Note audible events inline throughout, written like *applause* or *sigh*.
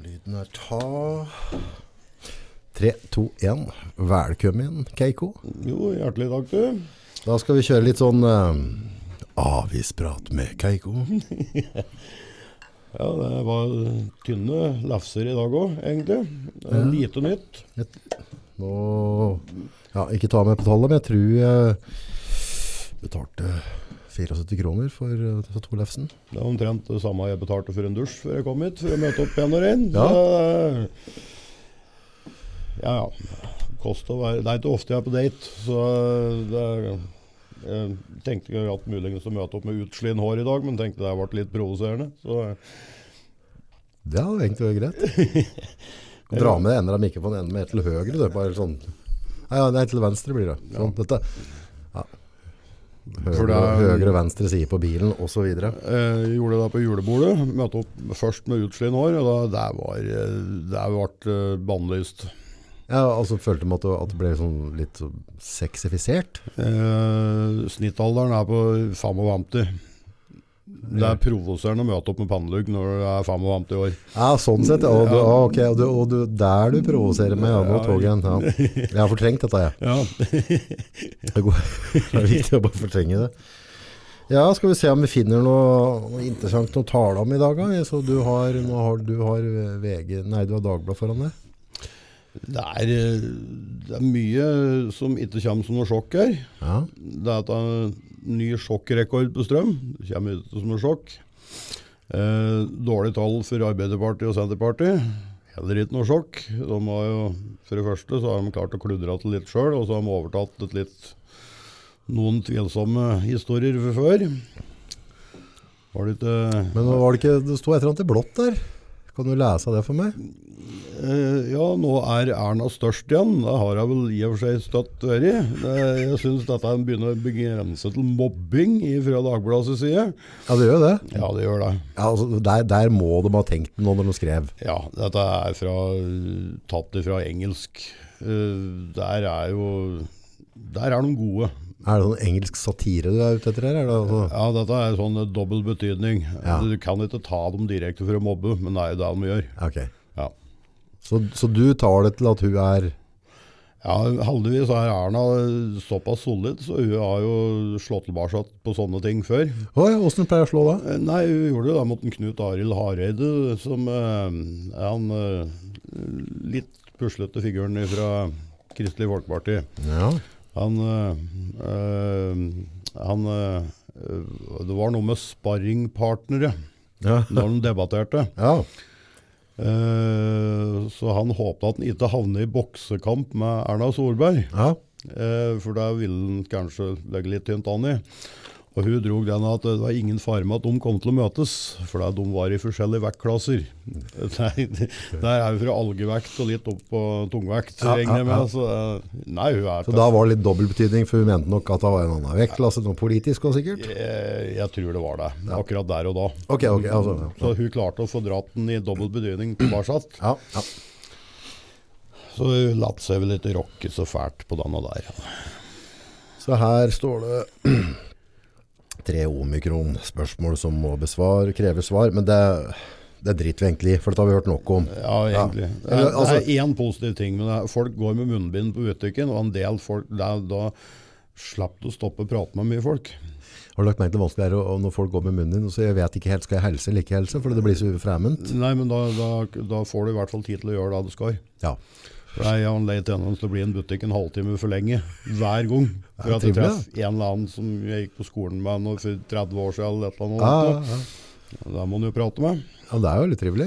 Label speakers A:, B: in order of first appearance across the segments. A: lyden her ta 3, 2, 1. Velkommen, Keiko.
B: Jo, hjertelig takk, du.
A: Da skal vi kjøre litt sånn eh, avisprat med Keiko.
B: Ja, det var tynne lefser i dag òg, egentlig. Det er Lite nytt.
A: Et, nå, ja, ikke ta meg på tallet, men jeg tror jeg betalte 74 kroner for, eh, for to lefsen.
B: Det er omtrent det samme jeg betalte for en dusj før jeg kom hit, for å møte opp igjen og rein.
A: Ja.
B: ja, ja. Kost å være Det er ikke ofte jeg er på date, så det er jeg tenkte jeg hatt muligens å møte opp med utslien hår i dag, men tenkte det ble litt provoserende. Så
A: Det hadde egentlig vært greit. Kan Dra med en av mikrofonen en med til høyre, du. Bare sånn. Nei, ja, nei, til venstre blir det. Sånn, dette. Ja.
B: For
A: Høyre,
B: det er-
A: høyre, venstre side på bilen, og så videre.
B: eh, Jeg gjorde det på julebordet. Møtte opp først med utslien hår. og da, Der var eh, der ble eh, bannlyst.
A: Ja, altså følte man at det, at det ble sånn litt så sexifisert.
B: Eh, snittalderen er på 55. Det er provoserende å møte opp med pannelugg når du er 55 år.
A: Ja, sånn sett. ja. Og, du,
B: Ja.
A: ah, ok, og, du, og du, der du provoserer meg, ja, nå
B: Ja.
A: togen. Ja. Jeg har fortrengt dette, jeg.
B: Ja.
A: Det går- *laughs* det er viktig å bare fortrenge det. Ja, skal vi se om vi finner noe, noe interessant å tale om i dag. da? Så du har, nå har, du har VG, nei, du har Dagblad foran deg.
B: Det, er, eh, det er mye som ikke kommer som noe sjokk her.
A: Ja.
B: Det er at det er en ny sjokkrekord på strøm. Det kommer ikke som noe sjokk. Eh, dårlig tall for Arbeiderpartiet og Senterpartiet. Heller ikke noe sjokk. De har jo, for det første så har de klart å kludre til litt sjøl, og så har de overtatt et litt noen tvilsomme historier fra før. Var det ikke
A: Men nå var det ikke, det sto et eller annet i blått der. Kan du lese av det for meg?
B: Eh, ja, nå er Erna størst igjen. Det har jeg vel i og for seg støtt vært. Eh, Jeg syns dette begynner å begrense til mobbing fra Dagbladets side.
A: Ja, det gjør jo det.
B: Ja, det gjør det.
A: Ja, altså, der, der må de ha tenkt noe når de skrev.
B: Ja, dette er fra, tatt det fra engelsk. Eh, der er jo Der er de gode.
A: Er det sånn engelsk satire du er ute etter her? Er det, altså?
B: Ja, dette er sånn dobbel betydning.
A: Ja.
B: Du kan ikke ta dem direkte for å mobbe, men det er jo det de gjør.
A: Ok.
B: Ja.
A: Så, så du tar det til at hun er
B: Ja, Heldigvis er Erna såpass solid, så hun har jo slått tilbake på sånne ting før.
A: Å ja, åssen pleier jeg å slå da?
B: Eh, Nei, hun gjorde det da mot en Knut Arild Hareide, som eh, er han eh, litt puslete figuren fra Kristelig Folkeparti.
A: Ja.
B: Han, eh, eh, han eh, Det var noe med sparringpartnere
A: Ja. *laughs*
B: når de debatterte.
A: ja.
B: Eh, så han håpet at han ikke havnet i boksekamp med Erna Solberg.
A: ja.
B: Eh, for da ville han kanskje legge litt tynt an i. Og hun drog den at det var ingen fare med at de kom til å møtes, for da de var i forskjellige vektklasser. *laughs* Nei, det- Der er jo fra algevekt og litt opp på tungvekt,
A: Ja,
B: regner jeg
A: ja, ja.
B: med. Så, eh, nei, hun er
A: Så da var det litt dobbeltbetydning, for hun mente nok at det var en annen vektklasse, noe politisk også sikkert.
B: Jeg, Eh, jeg tror det var det, akkurat der og da.
A: Ok, ok. Altså, ja.
B: Så hun klarte å få dratt den i dobbel betydning tilbake.
A: Ja, ja.
B: Så hun lot seg vel ikke rocke så fælt på den og der.
A: Så her står det *clears throat* tre omikron-spørsmål som må besvar, krever svar, men det, det driter vi egentlig i, for dette har vi hørt nok om.
B: Ja, egentlig. Det,
A: Eller,
B: er,
A: altså-
B: det er én positiv ting, men det er, folk går med munnbind på butikken, og en del folk da, da slipper du å stoppe å prate med mye folk.
A: Har du lagt merke til vanskelig er å- å- når folk går med munnen din, og så jeg vet ikke helt, skal jeg helse eller ikke helse, for det blir så fremmed.
B: Nei, men da, da, da får du i hvert fall tid til å gjøre det du skal.
A: Ja.
B: For jeg har en lei tendens til å bli i en butikk en halvtime for lenge hver gang. For
A: Ja,
B: at jeg
A: trivelig,
B: treffer en eller annen som jeg gikk på skolen med nå for 30 år siden, eller et eller
A: Ja,
B: annet.
A: ja, ja.
B: Da må man jo prate med.
A: ja, det er jo litt trivelig.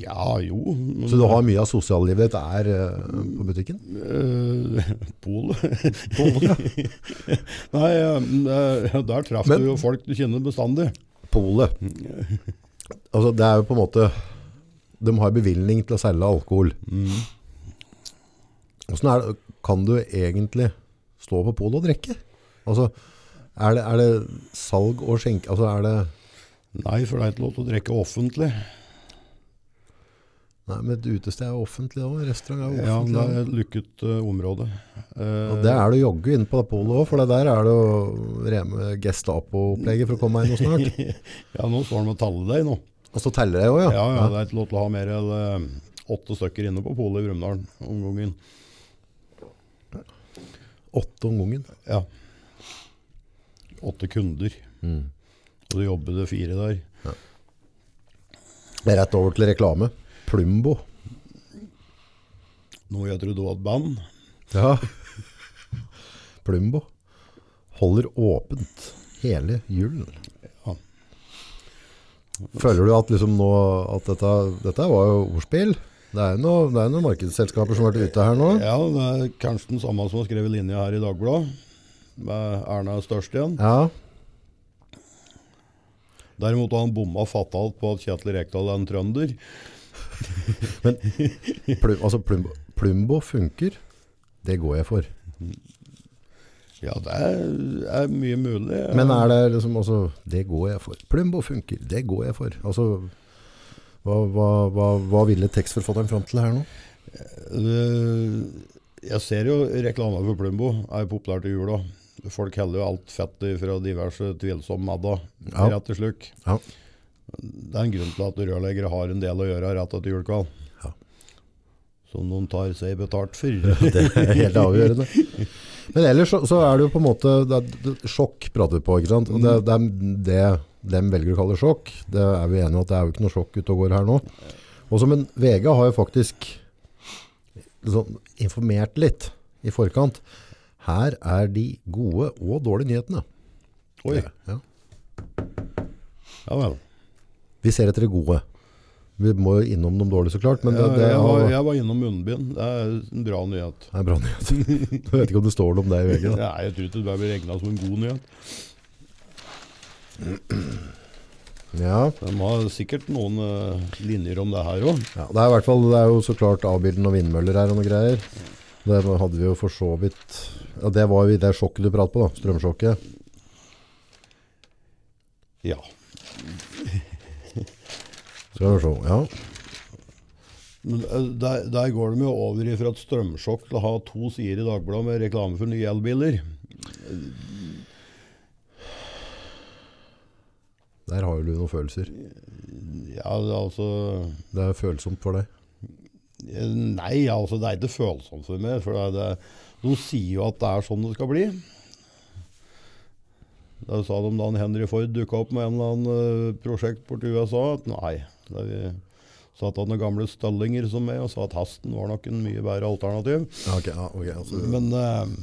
B: Ja, jo. Men,
A: Så du har mye av sosiallivet ditt er eh, på butikken?
B: Eh, *laughs* Polet? Nei, eh, eh, der traff
A: Men-
B: du jo folk du kjenner bestandig.
A: Polet. Altså, det er jo på en måte De har bevilgning til å selge alkohol. Mm. Hvordan er det, kan du egentlig stå på polet og drikke? Altså, er det, er det salg og skjenke Altså, er det
B: Nei, for det er ikke lov til å drikke offentlig.
A: Nei, men et utested er offentlig òg. Restaurant er
B: Ja,
A: offentlig.
B: men det er et lukket eh, område. Eh,
A: og det er det å jogge inne på det polet òg, for det der er det å reme Gestapo-opplegget for å komme inn noe snart.
B: Eh, *laughs* ja, nå står han med tallet deg nå.
A: Og så teller jeg òg, ja.
B: Ja, ja, det er ikke lov til å ha mer enn eh, åtte stykker inne på polet i Brumunddal om gangen.
A: Åtte om gangen.
B: Ja. Åtte kunder,
A: Mm.
B: og det jobber det fire der.
A: Det er Rett over til reklame. Plumbo.
B: Noe jeg trodde var et band.
A: Ja. *laughs* Plumbo holder åpent hele julen.
B: Ja.
A: Føler du at, liksom nå, at dette, dette var jo ordspill? Det er jo noe- det er noen markedsselskaper som har vært ute her nå.
B: Ja, det er kanskje den samme som har skrevet linja her i Dagbladet, med Erna størst igjen.
A: Ja.
B: Derimot har han bomma fatalt på at Kjetil Rekdal er en trønder.
A: Plum, altså plumbo, plumbo funker. Det går jeg for.
B: Ja, det er, er mye mulig.
A: Men er det liksom også Det går jeg for. Plumbo funker. Det går jeg for. Altså hva, hva, hva, hva ville tekstforfatteren fram til her nå?
B: Eh, Jeg ser jo reklame for Plumbo er jo populært i jula. Folk heller jo alt fett fra diverse tvilsomme madda,
A: Ja.
B: rett til slukk.
A: Ja.
B: Det er en grunn til at rørleggere har en del å gjøre rett etter julekveld.
A: Ja.
B: Som noen tar seg betalt for. *laughs*
A: *laughs* Det er helt avgjørende. Men ellers så, så er det jo på en måte det er, det, Sjokk prater vi på, ikke sant? Og det, det er det dem velger å kalle sjokk. Det er vi enige om at det er jo ikke noe sjokk ute og går her nå. Også, men VG har jo faktisk liksom, informert litt i forkant. Her er de gode og dårlige nyhetene.
B: Oi,
A: Ja.
B: ja vel.
A: Vi ser etter de gode. Vi må jo innom de dårlige, så klart. Men det,
B: Jeg,
A: det,
B: jeg, var,
A: har,
B: jeg var innom munnbind. Det er en bra nyhet.
A: det er bra nyheter. *laughs* Jeg vet ikke om det står noe om det i VG. Da.
B: Nei, jeg tror ikke det bare blir regna som en god nyhet.
A: Ja.
B: De har sikkert noen eh, linjer om det her òg.
A: Ja, det er i hvert fall det er jo så klart avbilden og vindmøller her og noe greier. Det hadde vi jo for så vidt ja, Det var jo i det sjokket du pratet på, da. Strømsjokket.
B: Ja.
A: Skal vi se. Ja.
B: Men eh, der, der går de jo over ifra et strømsjokk til å ha to sider i Dagbladet med reklame for nye elbiler.
A: Der har jo du noen følelser.
B: Ja, altså
A: Det er følsomt for deg.
B: eh, Nei, altså, det er ikke følsomt for meg. For det er, de sier jo at det er sånn det skal bli. Da sa de da Henry Ford dukka opp med en eller annen eh, prosjekt borti USA, at nei. Det vi satt av noen gamle støllinger som meg og sa at hesten var nok en mye bedre alternativ.
A: Ja, ok, ja, ok, altså,
B: Men eh,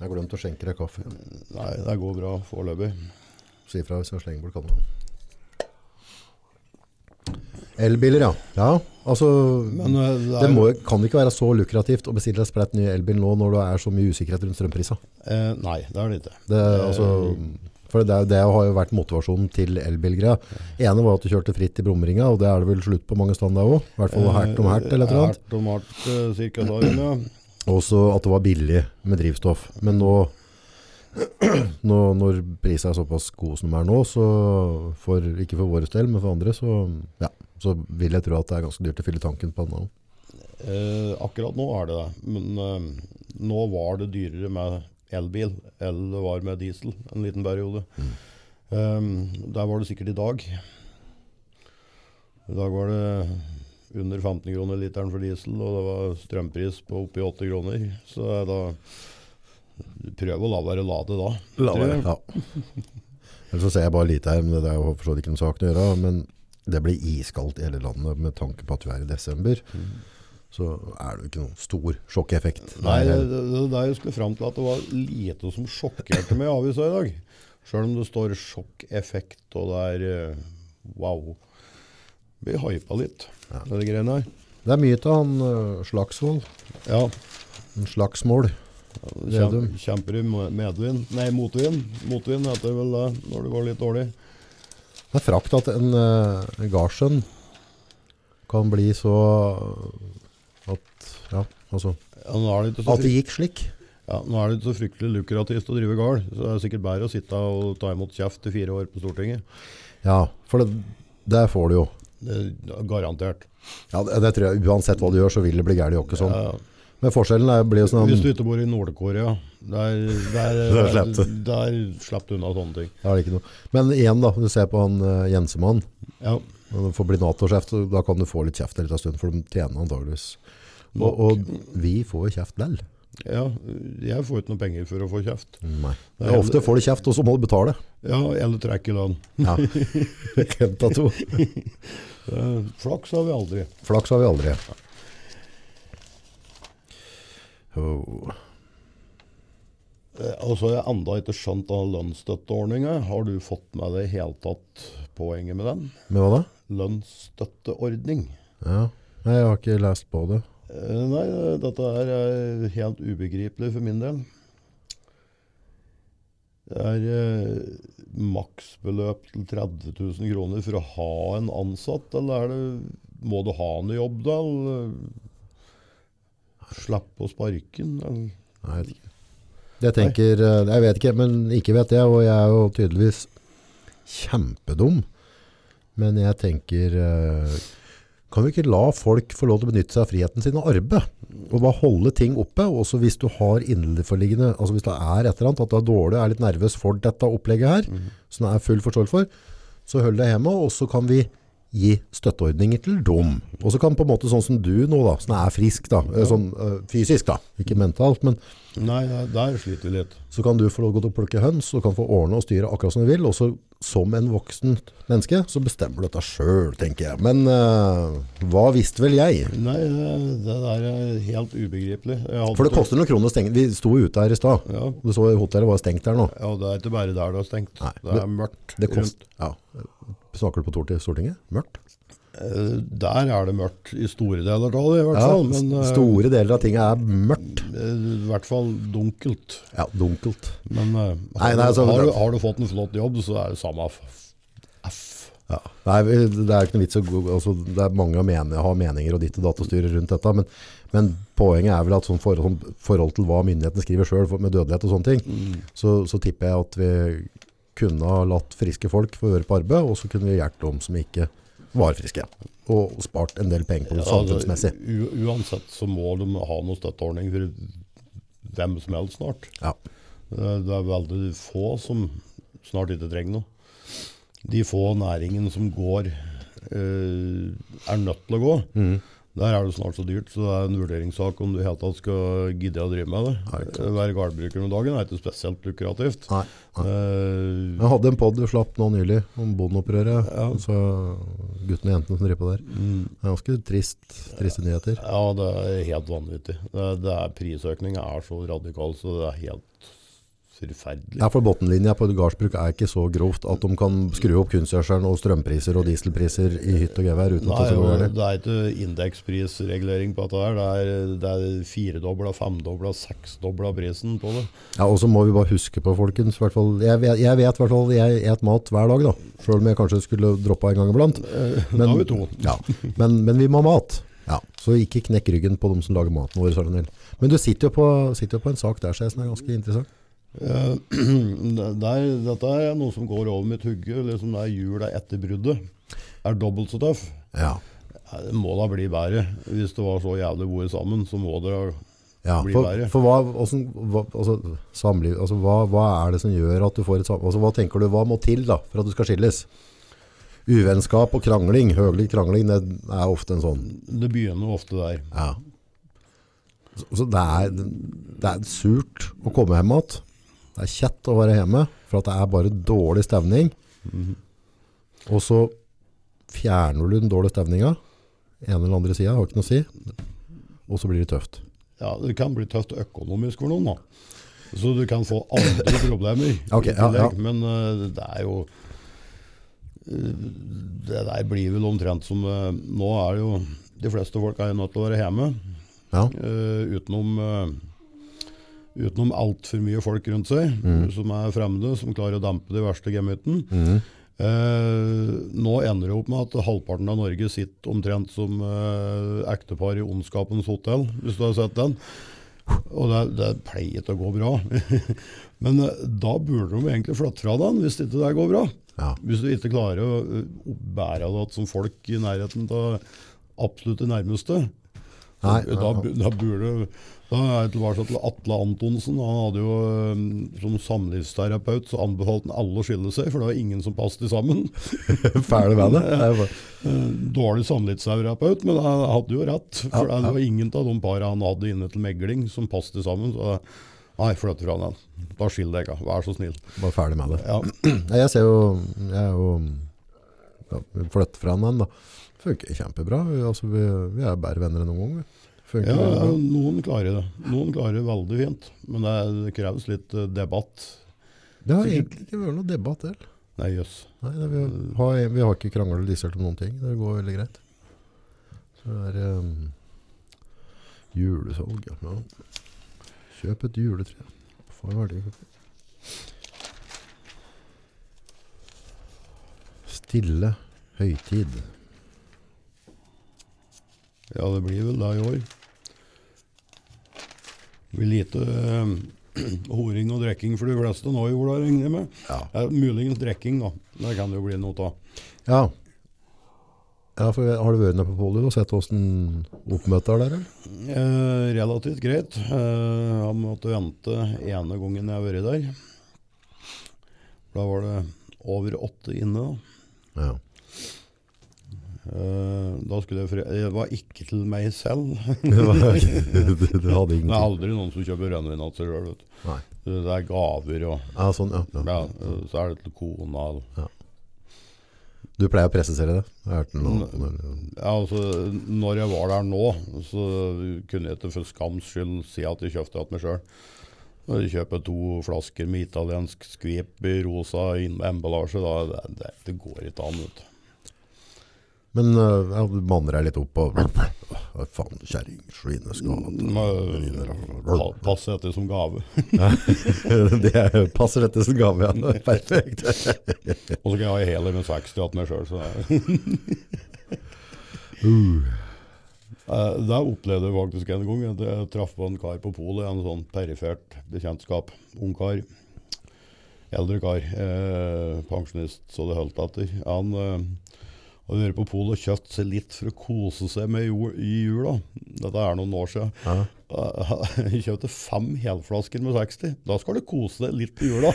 A: jeg har glemt å skjenke deg kaffe.
B: nei, det går bra foreløpig.
A: Si ifra hvis jeg slenger bort kanna. Elbiler, ja. ja. Altså,
B: Men eh, det
A: det
B: er
A: må, kan det ikke være så lukrativt å bestille deg spredt ny elbil nå når det er så mye usikkerhet rundt strømprisa?
B: Eh, nei, det er det ikke.
A: Det, altså, for det, er jo- det har jo vært motivasjonen til elbilgreia. ene var at du kjørte fritt i Bromringa, og det er det vel slutt på mange steder òg. I hvert fall
B: Eh,
A: hert om hert eller et eller annet.
B: Hert om hert, eh, cirka sa hun, ja.
A: Og så at det var billig med drivstoff. Men nå, *clears throat* nå når prisen er såpass god som den er nå, så for, ikke for vår del, men for andre, så, ja, så vil jeg tro at det er ganske dyrt å fylle tanken på den. også.
B: Eh, akkurat nå er det det. Men eh, nå var det dyrere med elbil enn det var med diesel en liten periode. Eh, der var det sikkert i dag. I dag var det under 15 kroner literen for diesel, og det var strømpris på oppi 8 kroner. Så da Prøv å la være lade da. tror jeg.
A: Ja. Ellers så ser jeg bare lite her, men det er jo for så vidt ikke noen sak å gjøre. Men det blir iskaldt i hele landet med tanke på at vi er i desember. Så er det jo ikke noen stor sjokkeffekt.
B: Nei,
A: Det
B: det,
A: er-
B: det, det der jeg skulle fram til at det var lite som sjokkerte meg i avisa i dag. Sjøl om det står 'sjokkeffekt' og det er eh, wow. Vi hypa litt,
A: Ja.
B: med de greiene her.
A: det er mye til han øh, Slagsvold.
B: Ja,
A: En slagsmål.
B: kjem,
A: Vedum.
B: kjemper i mo- medvind Nei, motvind. Motvind heter det vel det når det går litt dårlig.
A: Det er frakt at en øh, garsjønn kan bli så øh, at Ja, altså
B: Ja, nå er det ikke så,
A: At det
B: frykt,
A: gikk slik.
B: ja, nå er det ikke så fryktelig lukrativt å drive gard, så det er sikkert bedre å sitte og ta imot kjeft i fire år på Stortinget.
A: Ja, for det, det får du jo.
B: Det er garantert.
A: Ja, det, det tror jeg, Uansett hva du gjør, så vil det bli gærent åkke sånn.
B: Ja, ja.
A: Men forskjellen er, blir jo sånn
B: Hvis du ikke bor i Nord-Korea, der, der,
A: Der
B: der,
A: slapp du.
B: der slapp du unna sånne ting.
A: Da er det ikke noe. Men igjen da, du ser på han eh, Jensemann,
B: Ja,
A: Når du får bli Nato-sjef, så da kan du få litt kjeft en liten stund, for de tjener antageligvis.
B: Nok.
A: Og, og vi får kjeft lell.
B: Ja, jeg får ikke noe penger for å få kjeft.
A: Nei. Det er ofte får du kjeft, og så må du betale.
B: Ja, eller trekk i lønn.
A: Ja. Kent av to.
B: Eh, Flaks har vi aldri.
A: Flaks har vi aldri. Oh.
B: Eh, Og så har jeg enda ikke skjønt av lønnsstøtteordninga. Har du fått med deg i hele tatt poenget med den?
A: Men hva da?
B: Lønnsstøtteordning.
A: Ja. Nei, jeg har ikke lest på det.
B: Eh, Nei, dette her er helt ubegripelig for min del. Det er eh, maksbeløp til 30 000 kroner for å ha en ansatt, eller er det, må du ha en i jobb da? Eller slippe å sparke den? eller?
A: Nei, jeg vet ikke. Jeg tenker, eh, jeg vet ikke, men ikke vet jeg, og jeg er jo tydeligvis kjempedum. Men jeg tenker, eh, kan vi ikke la folk få lov til å benytte seg av friheten sin og arbeid? Og bare holde ting oppe, også hvis du har innenforliggende, altså hvis det er et eller annet, at du er dårlig, er litt nervøs for dette opplegget her, som det er full forståelse for, så hold deg hjemme, og så kan vi gi støtteordninger til dem. Og så kan på en måte sånn som du nå da, som er frisk da, eh, sånn eh, fysisk da, ikke mentalt, men
B: Nei, der, der sliter vi litt.
A: så kan du få lov til å plukke høns, og du kan få ordne og styre akkurat som du vil, og så som en voksen menneske, så bestemmer du dette selv, tenker jeg. Men eh, hva visste vel jeg?
B: Nei, det, det der er helt ubegripelig. Jeg hadde
A: For det
B: tro-
A: koster noen kroner å stenge. Vi sto ute her i stad,
B: Ja.
A: og du så hotellet var stengt der nå.
B: Ja, det er ikke bare der det er stengt.
A: Nei,
B: det er mørkt.
A: Det
B: rundt.
A: kost, ja. Snakker du på Tort- Stortinget? Mørkt?
B: Eh, Der er det mørkt i store deler av det, i hvert
A: Ja,
B: fall. Men, eh,
A: store deler av tinget er mørkt.
B: Eh, I hvert fall dunkelt.
A: Ja, dunkelt.
B: Men eh, har,
A: Nei, nei, altså-
B: du, har, du, har du fått en flott jobb, så er det samme f. f.
A: Ja. Det, er, det er ikke noe vits å gå, altså, det er mange å mene, ha meninger og ditt og datastyre rundt dette, men, men poenget er vel at sånn forhold, sånn forhold til hva myndighetene skriver selv for- med dødelighet og sånne ting, så, så tipper jeg at vi kunne ha latt friske folk få høre på arbeid, og så kunne vi hjerte dem som ikke var friske, og spart en del penger på det samfunnsmessig.
B: altså, u, uansett så må de ha noen støtteordning for hvem som helst snart.
A: Ja.
B: Eh, Det er veldig få som snart ikke trenger noe. De få næringene som går, eh, er nødt til å gå. Der er det snart så dyrt, så det er en vurderingssak om du i hele tatt skal gidde å drive med det. Å være gardbruker om dagen er ikke spesielt lukrativt.
A: Nei, nei.
B: Eh,
A: Jeg hadde en podd vi slapp nå nylig om bondeopprøret,
B: Ja.
A: så guttene og jentene som driver på der. Det er ganske trist, triste nyheter.
B: mm, Ja, det er helt vanvittig. Det, det er, prisøkningen er så radikal, så det er helt forferdelig.
A: Ja, for bottenlinja på et gardsbruk er ikke så grovt at de kan skru opp kunstgjørselen og strømpriser og dieselpriser i hytt og gevær uten
B: Nei,
A: at det går
B: og
A: galt.
B: det er ikke indeksprisregulering på dette her. Det er, det er firedobla, femdobla, seksdobla prisen på det.
A: Ja, og så må vi bare huske på, folkens, hvert fall, jeg, vet- jeg vet i hvert fall jeg et mat hver dag, da, selv om jeg kanskje skulle droppa en gang iblant.
B: Eh, da har vi to.
A: Ja, men, men vi må ha mat. Ja, så ikke knekk ryggen på dem som lager maten vår. Søren Niel. Men du sitter jo på, sitter jo på en sak der, Skeis, som er ganske interessant.
B: Eh, *clears throat* det- det er, dette er noe som går over mitt hugge. Liksom det er jula etter bruddet. Er dobbelt så tøff.
A: Ja,
B: Nei, Det må da bli bedre. Hvis det var så jævlig gode sammen, så må det
A: ja.
B: Blir
A: For,
B: verre.
A: for hva, hvordan, hva, altså, samliv, altså, hva, hva er det som gjør at du får et samliv? Altså, hva tenker du, hva må til da, for at du skal skilles? Uvennskap og krangling, høglig krangling, det er ofte en sånn.
B: Det begynner ofte der.
A: Ja. Så, så det, er, det er surt å komme hjem igjen. Det er kjett å være hjemme, for at det er bare dårlig stevning. Og så fjerner du den dårlige stevninga, en eller andre sida, har ikke noe å si. Og så blir det tøft.
B: Ja, det kan bli tøft økonomisk for noen, da. Så du kan få andre problemer. i
A: *laughs* Ok, ja,
B: tillegg,
A: ja.
B: Men eh, det er jo eh, Det der blir vel omtrent som eh, Nå er det jo De fleste folk er jo nødt til å være hjemme.
A: Ja,
B: eh, utenom uh, Utenom altfor mye folk rundt seg som er fremmede, som klarer å dampe de verste gemytten. Eh, nå ender det opp med at halvparten av Norge sitter omtrent som eh, ektepar i Ondskapens hotell, hvis du har sett den. Og det, det pleier ikke å gå bra. *laughs* Men eh, da burde de egentlig flytte fra den, hvis ikke det går bra.
A: ja.
B: Hvis du ikke klarer å eh, bære det at som folk i nærheten av absolutt det nærmeste,
A: Nei,
B: da, da, bu- da burde Da er jeg tilbake til Atle Antonsen. Han hadde jo eh, Som samlivsterapeut så anbefalte han alle å skille seg, for det var ingen som passet sammen. *laughs*
A: Fæle med det. det er jo bare,
B: Eh, Dårlig samlivsterapeut, men han hadde jo rett. For
A: Ja, ja.
B: det var ingen av de parene han hadde inne til megling, som passet sammen. Så nei, flytt fra den. Da skill deg, da. vær så snill.
A: bare ferdig med det.
B: Ja,
A: Nei, jeg ser jo Jeg er jo ja, flytt fra den da. Funker kjempebra. Vi, altså, vi, vi er bedre venner enn noen gang. vi. Funker
B: ja
A: veldig bra.
B: noen klarer det. Noen klarer det veldig fint, men det, er- det kreves litt eh, debatt.
A: Det har egentlig ikke vært noe debatt heller.
B: Nei, jøss.
A: Nei, det, vi, har, vi har ikke kranglet eller dissert om noen ting. Det går veldig greit. Så det er ehm, julesalg. ja. Ja. Kjøp et juletre. Få en verdi. Stille høytid.
B: Ja, det blir vel det i år. Det blir lite eh, *clears throat* horing og drikking for de fleste nå i jula, regner jeg med.
A: Ja.
B: Eh, muligens drikking, da. Det kan det jo bli noe av.
A: Ja. ja for har du vært nede på Polio og sett hvordan oppmøtet er der? eller?
B: Eh, relativt greit. Eh, jeg har måttet vente ene gangen jeg har vært der. Da var det over åtte inne. da.
A: Ja. *laughs*
B: Eh, da skulle jeg fri... Det var ikke til meg selv. *laughs*
A: Det var- du, du hadde
B: Det er
A: ingenting.
B: aldri noen som kjøper rødvin til seg sjøl.
A: Nei.
B: Det er gaver og
A: Ja, sånn, ja. ja.
B: ja, eh, Så er det til kona. og-
A: Du pleier å presisere det. Jeg har hørt den nå.
B: Ja, altså, når jeg var der nå, så kunne jeg ikke for skams skyld si at jeg kjøpte det meg sjøl. Når jeg kjøper to flasker med italiensk skvip i rosa inn- emballasje, da det, det, det går ikke an. Vet. du.
A: Men øh, ja, du manner deg litt opp og Åh, Faen, kjerring, svineskade.
B: Du må pa- passe etter som gave.
A: *laughs* Det er- passer dette som gave, ja. Perfekt.
B: Og så kan jeg ha en heller med 60 til meg sjøl. *laughs* Uh. Eh, Det opplevde jeg faktisk en gang. at Jeg traff på en kar på polet, en sånn perifert bekjentskap. Ung kar. Eldre kar. Eh, pensjonist, så det holdt etter. Han eh, hadde vært på polet og kjøpt seg litt for å kose seg med jul, i jula. Dette er noen år siden.
A: Ja.
B: Eh, *laughs* Jeg kjøpte fem helflasker med 60. Da skal du kose deg litt i jula.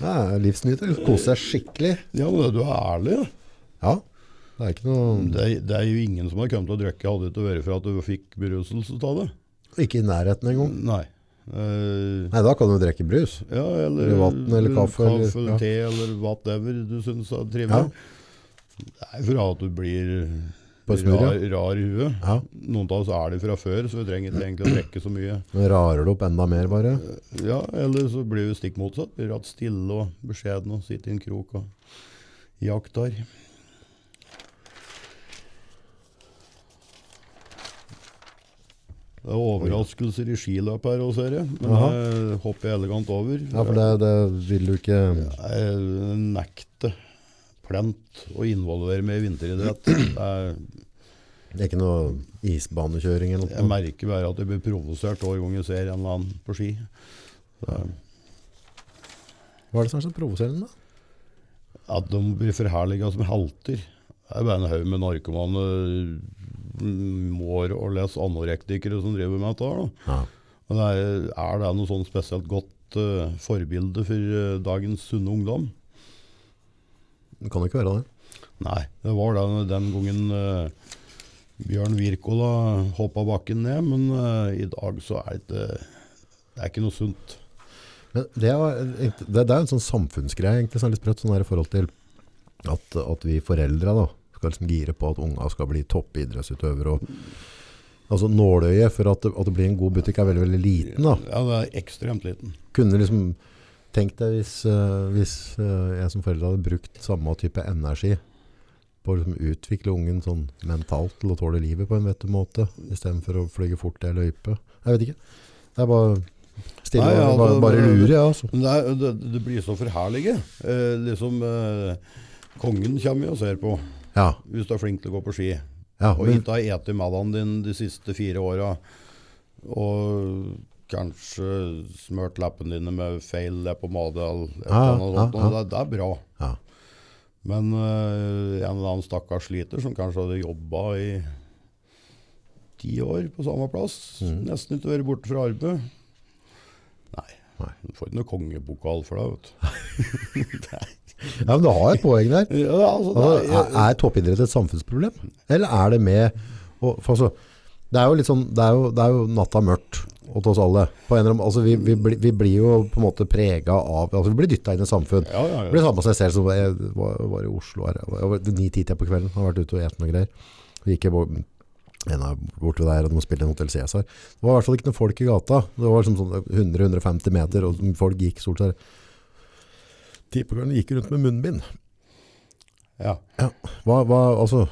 A: Ja, livsnyter. Kose deg skikkelig.
B: *laughs* Ja, men du er ærlig. da.
A: Ja. Det er ikke noe
B: Det er, det er jo ingen som har kommet til å drikke, hadde det ikke vært for at du fikk beruselse av det.
A: Ikke i nærheten engang.
B: Nei. Eh,
A: Nei, da kan du drikke brus.
B: ja, eller,
A: Eller vatten, eller kaffe, eller-
B: kaffe,
A: ja.
B: te, eller whatever du syns er
A: Ja.
B: trivelig. Det er for at du blir
A: På snurr, ja.
B: rar, rar i huet.
A: Ja.
B: Noen av oss er det fra før, så vi trenger ikke egentlig å drikke så mye.
A: Nå rarer det opp enda mer, bare.
B: Ja, Eller så blir vi stikk motsatt. Blir rett stille og beskjeden og sitter i en krok og jakter. Det er overraskelser i skiløp her òg, ser jeg. Men
A: Jaha.
B: det hopper jeg elegant over.
A: Ja, for det, det vil du ikke
B: Jeg nekter plent å involvere meg i vinteridrett. Jeg,
A: Det er ikke noe isbanekjøring eller
B: jeg
A: noe.
B: merker bare at jeg blir provosert hver gang jeg ser en eller annen på ski. Så,
A: Hva er det som er så provoserende, da?
B: At de blir forherliga som helter. Det er bare en haug med narkomane, mm, mår og les anorektikere som driver med dette. her, Da.
A: Ja.
B: Men det er, er det noe sånn spesielt godt eh, forbilde for eh, dagens sunne ungdom?
A: Det kan jo ikke være det.
B: Nei, det var den, den gangen eh, Bjørn Wirkola hoppa bakken ned, men eh, i dag så er det ikke, det er ikke noe sunt.
A: Men det, var, egentlig- det, det er jo en sånn samfunnsgreie egentlig, som er litt sprøtt sånn her i forhold til at, at vi foreldre da, skal liksom gire på at unga skal bli toppidrettsutøvere. og- Altså nåløyet for at det, at det blir en god butikk er veldig, veldig liten. Da.
B: Ja, det er ekstremt liten.
A: Kunne liksom tenkt deg hvis, eh, hvis eh, jeg som forelder hadde brukt samme type energi på å liksom utvikle ungen sånn mentalt til å tåle livet på en vettig måte, i stedet for å flyge fort i en løype. Jeg vet ikke. Det er bare stille,
B: Nei, ja,
A: bare,
B: det-
A: bare lure, ja. Altså.
B: Men det, er, det, det blir så forherlige. Eh, liksom, eh, kongen kommer jo og ser på
A: Ja,
B: hvis du er flink til å gå på ski.
A: ja,
B: Og
A: men-
B: ikke har spist middagen din de siste fire åra. Og kanskje smurt leppene dine med feil leppepomade eller et
A: Ja,
B: eller annet
A: ja,
B: sånt. Og det, det er bra.
A: ja.
B: Men eh, en eller annen stakkars sliter som kanskje hadde jobba i ti år på samme plass,
A: Mhm.
B: nesten ikke vært borte fra arbeid Nei,
A: Nei.
B: du får ikke noe kongepokal for det.
A: *laughs*
B: vet
A: Ja, men du har et poeng der.
B: du. *laughs* Ja, altså, det er,
A: Altså, er- er toppidrett et samfunnsproblem? Eller er det med å- for altså, det, er jo litt sånn, det, er jo, det er jo natta mørkt åt oss alle. På en eller annen, altså, vi, vi, blir- vi blir jo på en måte prega av altså, Vi blir dytta inn i samfunn.
B: ja, ja,
A: Det
B: ja.
A: blir samme som jeg selv som jeg var, var i Oslo her. Jeg var ni-ti-tida på kvelden. Har vært ute og spist noen greier. Så gikk jeg bo- en av bort ved der, og de spilte en Hotel Cæsar. Det var i hvert fall ikke noen folk i gata. Det var liksom sånn 100-150 meter, og folk gikk stort sett. Ti på kvelden gikk rundt med munnbind.
B: ja.
A: Hva, hva, altså,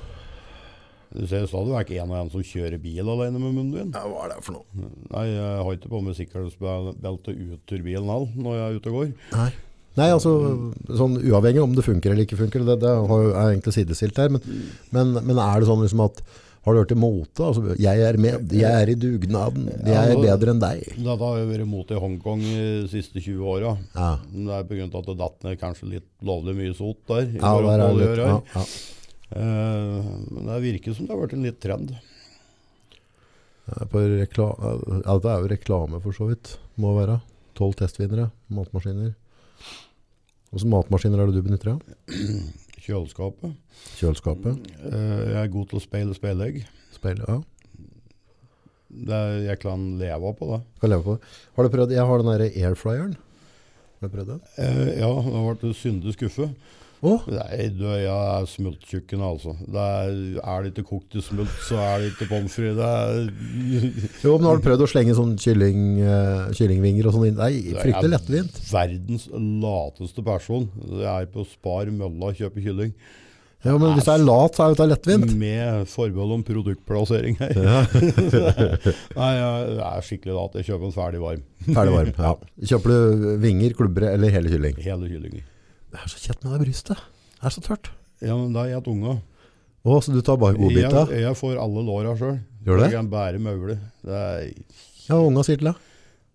B: Du ser stadig vekk en og en som kjører bil alene med munnbind.
A: ja, hva er det for noe?
B: Nei, jeg har ikke på meg sikkerhetsbelte ut ur bilen all når jeg er ute og går.
A: Nei. Nei, altså, sånn uavhengig om det funker eller ikke funker, det, det har jo- er egentlig sidestilt her, men, men, men er det sånn liksom at, har du hørt det mote? Altså, jeg er med, jeg er i dugnaden, jeg er bedre enn deg.
B: Dette har jo vært mot i Hongkong de siste 20 åra.
A: Ja,
B: Det er på grunn av at det datt ned kanskje litt lovlig mye sot der. i
A: ja
B: forhold
A: der
B: til
A: er
B: alle
A: det
B: gjør
A: litt.
B: her.
A: Ja, ja.
B: Eh, men det virker som det har vært en litt trend.
A: På rekla- ja, det er jo reklame for så vidt, må være. 12 testvinnere, matmaskiner. Hvilke matmaskiner er det du benytter av?
B: Kjøleskapet.
A: Kjøleskapet,
B: Eh, jeg er god til å speile speilegg.
A: speil, ja.
B: Det er- Jeg kan leve på det.
A: Kan leve på det. Har du prøvd, jeg har den der airfryeren. Har du prøvd den?
B: Eh, ja, nå ble du syndig skuffet.
A: Åh,
B: Nei, du, jeg er smulttjukken, altså. Det er, er det ikke kokt i smult, så er det ikke pommes frites.
A: *laughs*
B: Det er
A: jo, men har du prøvd å slenge sånn kylling, eh, kyllingvinger og sånn inn? Nei,
B: Jeg er
A: fryktelig lettvint.
B: Verdens lateste person. Jeg er på Spar Mølla og kjøper kylling.
A: Ja, men hvis det er lat, så er det lettvint.
B: Med forbehold om produktplassering her. *laughs* Nei, jeg er skikkelig lat. Jeg kjøper en ferdig varm.
A: Ferdig varm, ja. Kjøper du vinger, klubbre eller hele kylling?
B: Hele kyllingen.
A: Det er så kjett med det brystet. Det er så tørt.
B: Ja, men da er jeg et unge.
A: Åh, så du tar bare godbita?
B: Jeg, jeg får alle låra sjøl.
A: Gjør du det?
B: Jeg kan bære maule. Det er-
A: Ja, unga sier til deg.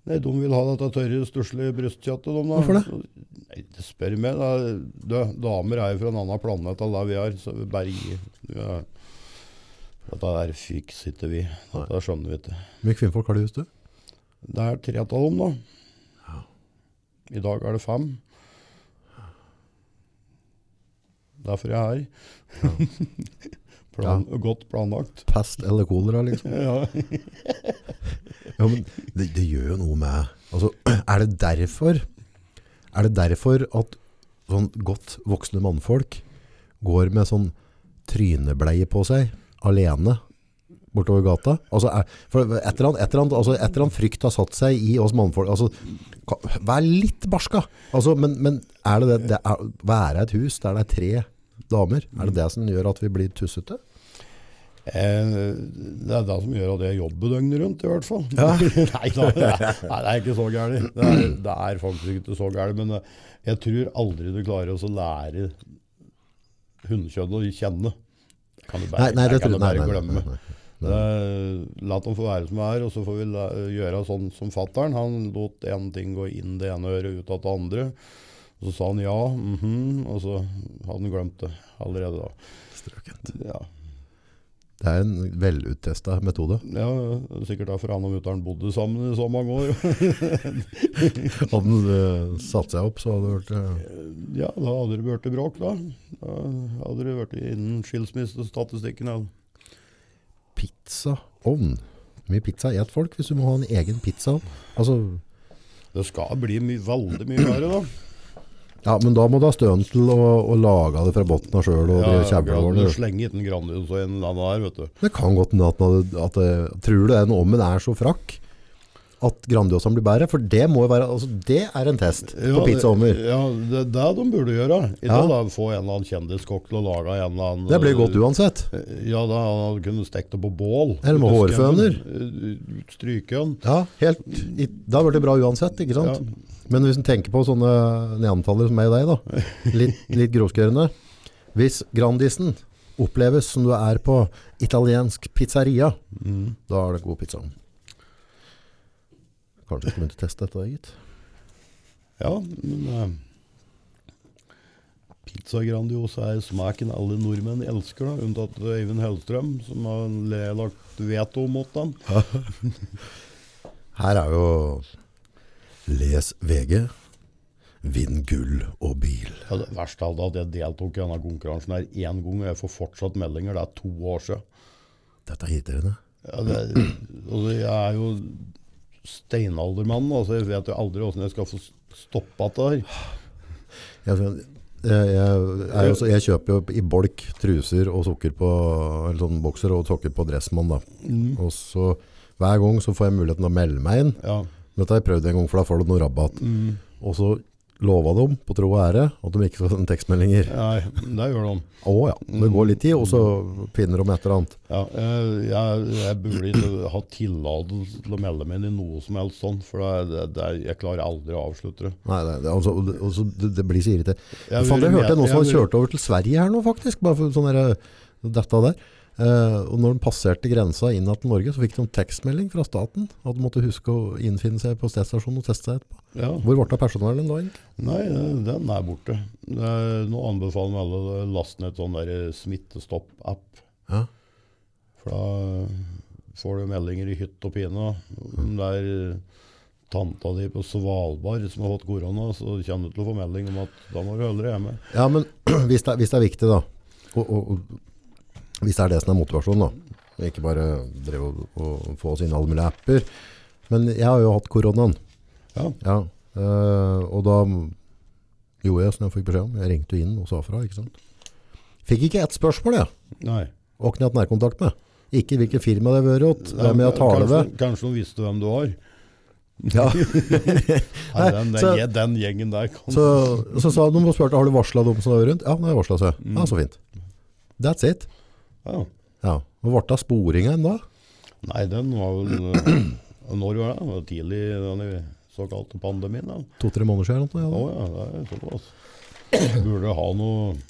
B: Nei, de vil ha dette tørre, stusslige brystkjøttet. De, da.
A: Hvorfor
B: Nei, det spør meg. Da. Du, damer er jo fra en annen planet enn der vi er, så vi bare gir. Ja. Dette der fikser ikke vi. Dette skjønner vi ikke.
A: Hvor mye kvinnfolk har du i huset?
B: Det er tre av dem, da. I dag er det fem. Derfor jeg er her. *laughs* Plan, Godt planlagt.
A: Pest eller kolera, liksom.
B: Ja.
A: Ja, men det, det gjør jo noe med altså, *clears throat* Er det derfor Er det derfor at sånn godt voksne mannfolk går med sånn trynebleie på seg alene bortover gata? Altså, er, for et eller, annet, et, eller annet, altså, et eller annet frykt har satt seg i oss mannfolk. Altså, ka- vær litt barska! Altså, men, men er det det, det er, være et hus der det er tre damer, er det det som gjør at vi blir tussete?
B: Eh, Det er det som gjør at jeg jobber døgnet rundt, i hvert fall. *laughs* nei, da, det er, nei, det er ikke så gærent. Det, er- det er faktisk ikke så gærent. Men eh, jeg tror aldri du klarer å så lære hundekjønnet å kjenne. Det Kan du bare, det kan
A: tror-
B: du bare
A: nei,
B: glemme.
A: nei, nei.
B: Eh, La dem få være som de er, og så får vi la, gjøre sånn som fattern. Han lot en ting gå inn det ene øret, ut av det andre. Og så sa han ja, mhm, og så hadde han glemt det allerede da. Ja.
A: Det er en veluttesta metode.
B: Ja, ja, sikkert derfor han og mutter'n bodde sammen i så mange år.
A: *laughs*
B: *laughs*
A: Hadde den eh, satt seg opp, så hadde det vært eh,
B: Ja, da hadde det blitt bråk, da. Da hadde det blitt innen skilsmissestatistikken. Ja.
A: pizzaovn. Hvor Mye pizza et folk hvis du må ha en egen pizzaovn. Altså,
B: Det skal bli my veldig mye verre, da.
A: ja, men da må du ha støen til å, å lage det fra bunnen av sjøl *clears throat* og drive kjevla over
B: du
A: det.
B: slenger ikke en Grandiosa i en eller annen her, vet du.
A: Det kan godt hende at, den hadde- at det- Tror du den ovnen er så frakk at Grandiosaen blir bedre? For det må jo være Altså, det er en test på pizzaovner.
B: Ja, det er det de burde gjøre. I
A: Ja.
B: dag da, Få en eller annen kjendiskokk til å lage en eller annen eh,
A: Det blir godt uansett.
B: Ja, da han hadde kunnet stekt det på bål. eh,
A: Eller med hårføner.
B: Stryke den.
A: Ja, helt, i- da blir det bra uansett, ikke sant? Men hvis en tenker på sånne neantalere som meg og deg da, litt, litt grovskørende, hvis Grandisen oppleves som du er på italiensk pizzeria, da er det god pizza. Kanskje skal begynne å teste dette, gitt.
B: Ja, men eh, Så grandios er smaken alle nordmenn elsker, da, unntatt Øyvind Hellstrøm, som har le- lagt veto mot den.
A: Her er jo Les VG. Vinn gull og bil.
B: Ja, det verste av det er at jeg deltok i denne konkurransen her én gang, og jeg får fortsatt meldinger. Det er to år siden.
A: Dette er irriterende.
B: Ja, det, er- altså, jeg er jo steinaldermann, altså jeg vet jo aldri åssen jeg skal få stoppa dette her.
A: Jeg, jeg, jeg, er jo så- jeg kjøper jo i bolk truser og sokker på eller sånn bokser og sokker på Dressmann. Da. Og så hver gang så får jeg muligheten til å melde meg inn.
B: Ja.
A: Dette har jeg prøvd en gang, for da får du noe rabatt. Og så lova de på tro og ære at de ikke skal sende tekstmeldinger.
B: Nei, det gjør de.
A: Å ja, det går litt tid, og så finner de et eller annet.
B: Ja, jeg, jeg, jeg burde ikke ha tillatelse til å melde meg inn i noe som helst sånt, for det, det, det, jeg klarer aldri å avslutte det.
A: Nei, nei, det, altså, og det- og så- det, det blir så irriterende.
B: Jeg
A: Faen,
B: vil-
A: jeg hørte noen som hadde
B: jeg vil-
A: kjørt over til Sverige her nå, faktisk. Bare for sånn der, dette der. Eh, og når de passerte grensa inn til Norge, så fikk de tekstmelding fra staten at de måtte huske å innfinne seg på stedstasjonen og teste seg etterpå.
B: Ja.
A: Hvor ble det av personvernet da? egentlig?
B: Nei, eh, den er borte. Eh, Nå anbefaler vi alle å laste ned et sånn der smittestopp-app.
A: Ja.
B: For da får du meldinger i hytt og pine. Om det er eh, tanta di på Svalbard som har fått korona, så kommer du til å få melding om at da må du holde deg hjemme.
A: Ja, men *clears throat* hvis det, er- hvis det er viktig da, og, og, og hvis det er det som er motivasjonen da, og ikke bare drev å, å få oss inn alle mulige apper, men jeg har jo hatt koronaen,
B: Ja.
A: ja, eh, og da gjorde jeg som jeg fikk beskjed om, jeg ringte jo inn og sa fra, ikke sant? Fikk ikke ett spørsmål, jeg,
B: Nei.
A: og ikke hatt nærkontakt med. Ikke hvilket firma det har vært, åt, hvem jeg taler
B: kanskje,
A: ved.
B: kanskje de visste hvem du var.
A: Ja.
B: *laughs*
A: *laughs*
B: Nei, den, den,
A: så-
B: gje- den gjengen der kan
A: Så, så sa de og spurte, har du varslet dem som er rundt? Ja, nå har jeg varslet seg.
B: Mm.
A: Ja, så fint. That's it.
B: ja.
A: Ja, og ble det sporingen da?
B: Nei, den var vel eh, Når var det? det? var Tidlig i den såkalte pandemien. da.
A: To-tre måneder siden. eller
B: Å
A: noe,
B: ja, det er såpass. Burde ha noen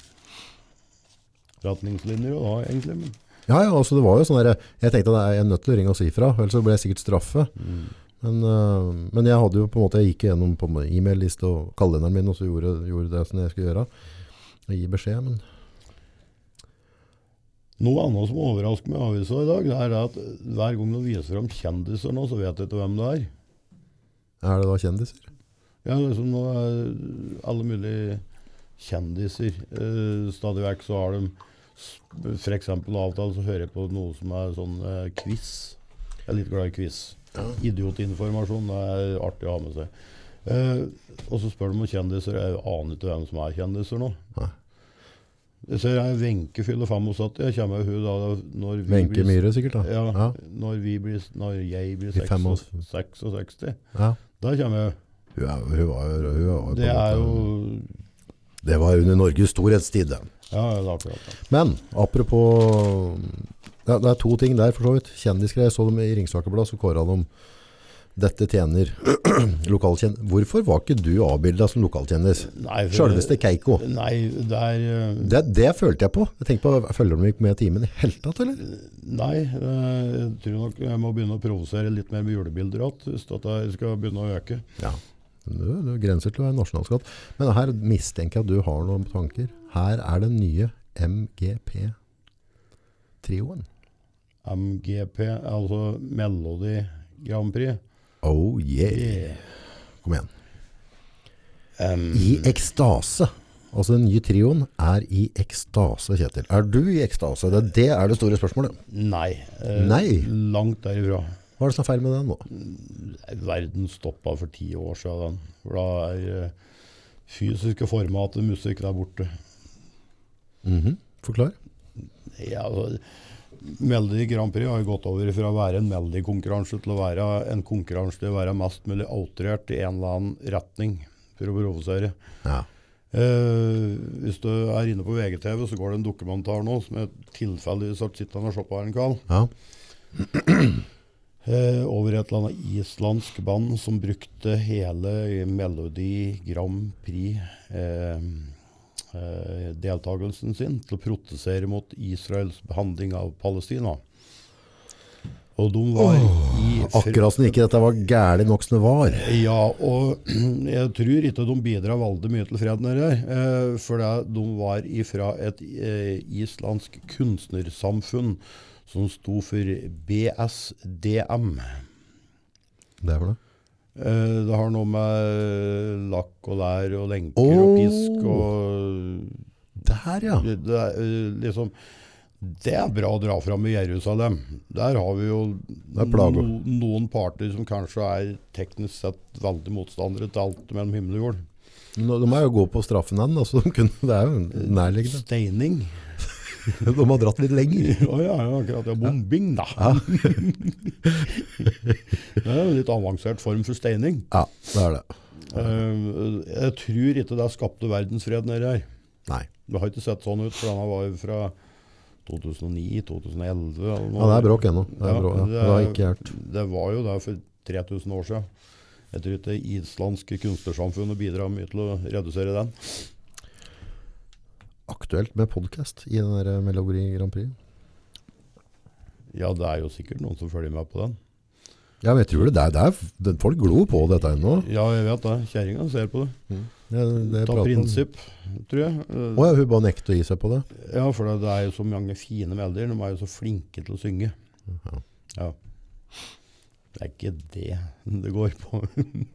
B: retningslinjer da, egentlig. Men.
A: Ja, ja, ja altså, det var jo sånn der, Jeg tenkte at jeg er nødt til å ringe og si fra, ellers så ble jeg sikkert straffet. Men, øh, men jeg hadde jo på en måte, jeg gikk gjennom på en måte e-mail-liste og kalenderen min, og så gjorde, gjorde det som jeg skulle gjøre. Og gi beskjed, men
B: Noe annet som overrasker meg i avisa i dag, det er at hver gang de viser fram kjendiser nå, så vet jeg ikke hvem det er.
A: er det da kjendiser?
B: Ja, liksom nå er alle mulige kjendiser. Eh, stadig vekk så har de s- for eksempel avtale, så hører jeg på noe som er sånn eh, quiz. Jeg er litt glad i quiz. Idiotinformasjon, det er artig å ha med seg. Eh, og så spør de om kjendiser. Jeg aner ikke hvem som er kjendiser nå.
A: Nei.
B: Jeg ser her Wenche fyller 75. Jeg kommer jo hun da når vi
A: Wenche
B: blir-
A: Myhre sikkert da?
B: Ja,
A: Ja,
B: Når, vi blir, når jeg blir
A: I fem år.
B: 66. 66.
A: ja.
B: Da kommer jeg.
A: Hun, er, hun var jo... Hun var jo på en
B: Det er
A: måte-
B: jo
A: Det var under Norges storhetstid, det.
B: Ja, ja, det er akkurat det.
A: Men apropos det er, det er to ting der for så vidt. Kjendisgreier. Jeg så dem i Ringsaker Blad, så kåra de dette tjener *clears throat* lokalkjendis. Hvorfor var ikke du avbilda som lokalkjendis?
B: Nei, for-
A: Sjølveste Keiko.
B: Nei, det er eh,
A: Det, det følte jeg på. Jeg tenkte på, Følger de ikke med i timen i hele tatt, eller?
B: Nei, eh, jeg tror nok jeg må begynne å provosere litt mer med julebilder igjen hvis dette her skal begynne å øke.
A: Ja. Du, du grenser til å være nasjonalskatt. Men her mistenker jeg at du har noen tanker. Her er den nye MGP-trioen.
B: MGP, altså Melodi Grand Prix.
A: Oh yeah.
B: Yeah.
A: Kom igjen.
B: Em,
A: I ekstase. Altså den nye trioen er i ekstase, Kjetil. Er du i ekstase? Det, det er det store spørsmålet.
B: nei. eh,
A: Nei.
B: Langt derifra.
A: Hva er det som er feil med den nå?
B: Verden stoppa for ti år siden. den. For da er eh, fysiske formatet musikk der borte.
A: Mhm. Forklar.
B: Ja, altså, Melodi Grand Prix har jo gått over fra å være en Melodi-konkurranse til å være en konkurranse til å være mest mulig outrert i en eller annen retning, for å provosere.
A: Ja.
B: Eh, hvis du er inne på VGTV, så går det en dokumentar nå som jeg tilfeldigvis har sittende og sett på her en kveld.
A: ja.
B: Eh, over et eller annet islandsk band som brukte hele Melodi Grand eh, Prix-deltakelsen sin til å protestere mot Israels behandling av Palestina. Og de var i
A: Akkurat som ikke dette var gærlig nok som det var.
B: Ja, og *clears throat* jeg tror ikke de bidrar veldig mye til fred nedi her. eh, For det- de var ifra et eh, islandsk kunstnersamfunn som sto for BSDM.
A: Det er for det.
B: Eh, Det har noe med lakk og lær og lenker
A: Åh.
B: og pisk og
A: Der, ja.
B: det, det, er, eh, liksom, det er bra å dra fram i Jerusalem. Der har vi jo
A: er plager.
B: no, noen parter som kanskje er teknisk sett veldig motstandere til alt mellom himmel og jord.
A: Men De er jo gode på straffen den, da, så de kunne, det er jo nærliggende.
B: Steining.
A: *laughs*
B: *laughs*
A: De har dratt litt lenger.
B: Å ja, ja, akkurat. Ja, bombing, da.
A: *laughs*
B: *laughs* det er jo en litt avansert form for steining.
A: Ja, det er det.
B: Eh, jeg tror ikke det skapte verdensfred nedi her.
A: Nei.
B: Det har ikke sett sånn ut, for denne var jo fra 2009-2011.
A: Ja,
B: eller noe.
A: det er bråk ennå. Det er
B: Ja,
A: bråk, ja.
B: det
A: Det har
B: er-
A: jeg ikke hørt.
B: Det var jo der for 3000 år siden. Jeg tror ikke det islandske kunstnersamfunnet bidrar mye til å redusere den.
A: Aktuelt med podcast i den der eh, Melodi Grand Prix.
B: Ja, det er jo sikkert noen som følger med på den.
A: Ja, men jeg tror det. det, er, det er, det- folk glor på dette ennå.
B: Ja, jeg vet det. Kjerringa ser på det.
A: Ja, det- det
B: Ta
A: prater om-
B: prinsipp, tror jeg. Eh,
A: Å ja, hun bare nekter å gi seg på det.
B: Ja, for det, det er jo så mange fine melodier. De er jo så flinke til å synge.
A: Ja.
B: Ja. Det er ikke det det går på. *laughs*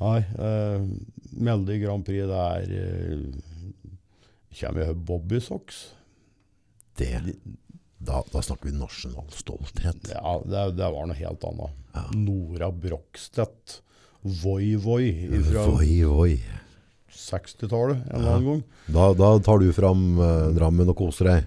B: Nei, eh, Melodi Grand Prix, det er eh, Kommer jeg hører Bobby Socks?
A: Det, da, da snakker vi nasjonal stolthet.
B: Ja, det, det var noe helt annet.
A: Ja.
B: Nora Brokstedt. Voi Voi fra
A: Oi, oi.
B: 60-tallet en eller annen gang.
A: Da, da tar du fram eh, Drammen og koser deg.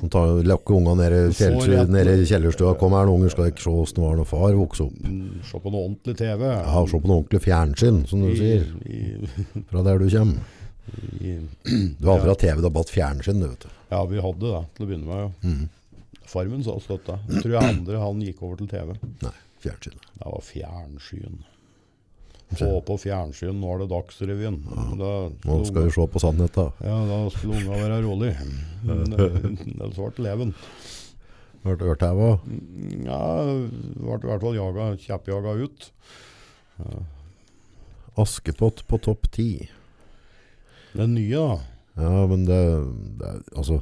A: Du tar, lakker unga nede i
B: Så
A: fjells-
B: rett-
A: nede i kjellerstua. Kom her, nå, unger skal ikke se åssen det var når far vokste opp.
B: Mm, Se på noe ordentlig TV.
A: Ja, Se på noe ordentlig fjernsyn, som du sier,
B: I,
A: fra der du kommer.
B: i, i,
A: Du har aldri hatt TV, du har bare hatt fjernsyn, du vet.
B: Ja, vi hadde det til å begynne med. Ja.
A: Mhm.
B: Farmen sa støtte. Jeg tror jeg andre han gikk over til TV.
A: Nei, fjernsyn.
B: Det var fjernsyn. Få på fjernsyn, nå er det Dagsrevyen. Da,
A: Nå skal vi se på sannheten.
B: ja, da skulle unga være rolig. Men, eh, Ellers ble det leven.
A: Hørt ørtæva.
B: Ja, ble i hvert fall jaga, kjeppjaga ut.
A: Askepott på topp 10.
B: Den nye, da.
A: Ja, men det, det er, altså,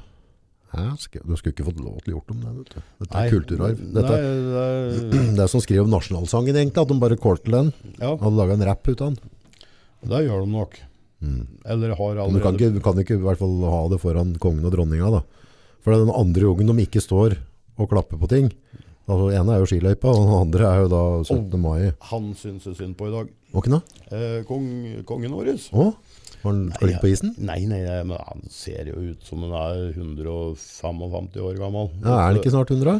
A: hæ? Sk- du skulle ikke fått lov til å gjort om det, vet du. Dette er *clears throat* kulturarv. Dette,
B: Nei, det,
A: er- det er som skriver om nasjonalsangen egentlig, at de bare kortet den.
B: er- ja,
A: Hadde laget en rap ut av den.
B: det gjør de nok.
A: Mm.
B: Eller har
A: Men Du kan
B: allerede
A: ikke, du kan ikke i hvert fall ha det foran kongen og dronninga da. For det er den andre jungen de ikke står og klapper på ting. Altså, den ene er jo skiløypa, og den andre er jo da 17. mai.
B: Han syns jeg synd på i dag.
A: Var ikke det?
B: Eh, kong, kongen vår.
A: Å? Var den klink på isen?
B: Nei, nei, nei, men han ser jo ut som han er 155 år gammel.
A: Ja, er den ikke snart 100?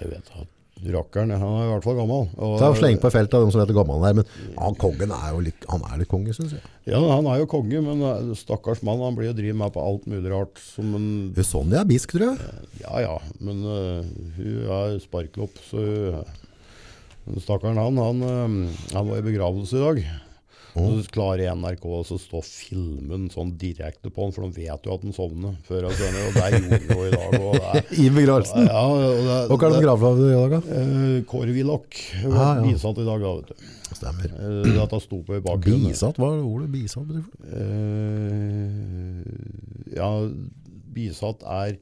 B: Jeg vet at rakkeren, han er i hvert fall gammel. Og,
A: Ta og sleng på feltet av dem som vet hvor gammel han er, men han, kongen er jo litt, han er litt konge, synes jeg.
B: Ja, han er jo konge, men eh, stakkars mann, han blir jo drivet med på alt mulig rart. Som en,
A: Sonja er bisk, tror jeg.
B: ja, ja, men eh, hun er sparklopp, så hun- men stakkaren han, han, eh, han var i begravelse i dag.
A: Å.
B: Så klarer NRK å så stå filmen sånn direkte på han, for de vet jo at han sovner før han sender, og det gjorde han jo i dag.
A: *laughs*
B: Og det er,
A: I begravelsen.
B: ja, og det,
A: Hva er det de gravla i dag, da?
B: Eh, Kåre Willoch
A: Ah,
B: var
A: ja.
B: bisatt i dag, da, vet du.
A: Stemmer.
B: Eh, Dette sto på i bakgrunnen.
A: Bisatt, hva er ordet bisatt? betyr for noe?
B: Eh, ja, bisatt er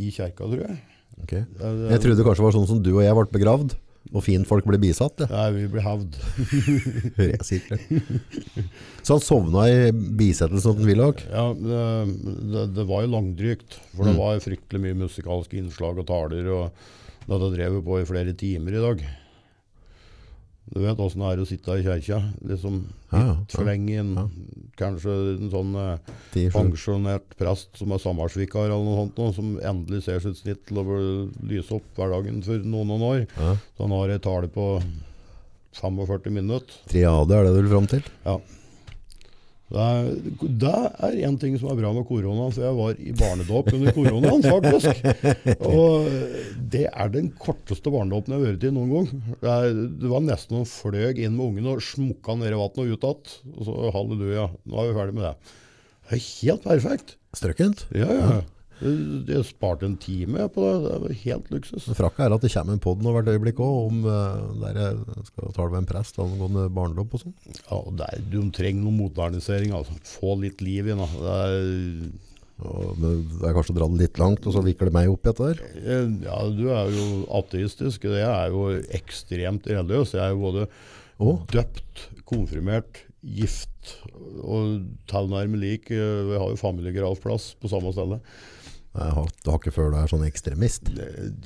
B: i kjerka, tror jeg.
A: Ok.
B: Eh,
A: Jeg trodde det kanskje var sånn som du og jeg ble begravd, og finfolk ble *laughs* bisatt. Ja.
B: Nei, vi blir hevd.
A: Hører jeg sikkert. Så han sovna i bisettelsen til Willoch?
B: Ja, eh, det, det var jo langdrygt, for
A: Mm.
B: det var fryktelig mye musikalske innslag og taler, og dette drev vi på i flere timer i dag. Du vet åssen det er å sitte i kjerka, liksom
A: Ja, ja,
B: for lenge inn,
A: ja.
B: kanskje en sånn eh,
A: Ti, sju.
B: pensjonert prest som er samarbeidsvikar eller noe sånt, nå, som endelig ser sitt snitt til å bli- lyse opp hverdagen for noen noen år.
A: Ja.
B: Så han har ei tale på 45 minutter.
A: Triade er det du vil fram til?
B: Ja. Det er, det er en ting som er bra med koronaen, for jeg var i barnedåp under koronaen, faktisk. Og det er den korteste barnedåpen jeg har vært i noen gang. Det, er, det var nesten noen fløg inn med ungen og smukka ned i vannet og ut igjen. Og så halleluja, nå er vi ferdig med det. Det er helt perfekt.
A: Strøkkent?
B: Ja, ja. Jeg sparte en time på det. Det var helt luksus.
A: Men Frakka er at det kommer en podd nå hvert øyeblikk òg, om eh, der jeg skal tale med en prest angående barnedåp og sånn.
B: Ja, og det er, de trenger noe modernisering. Altså. Få litt liv i den. da. Det er,
A: Og Det det er kanskje å dra det litt langt, og så viker det meg opp i dette her.
B: Eh, Ja, du er jo ateistisk. og Jeg er jo ekstremt religiøs. Jeg er jo både
A: Å?
B: døpt, konfirmert, gift og tilnærmet lik. eh, Jeg har jo familiegravplass på samme sted.
A: Jeg har, det har ikke før du er sånn ekstremist.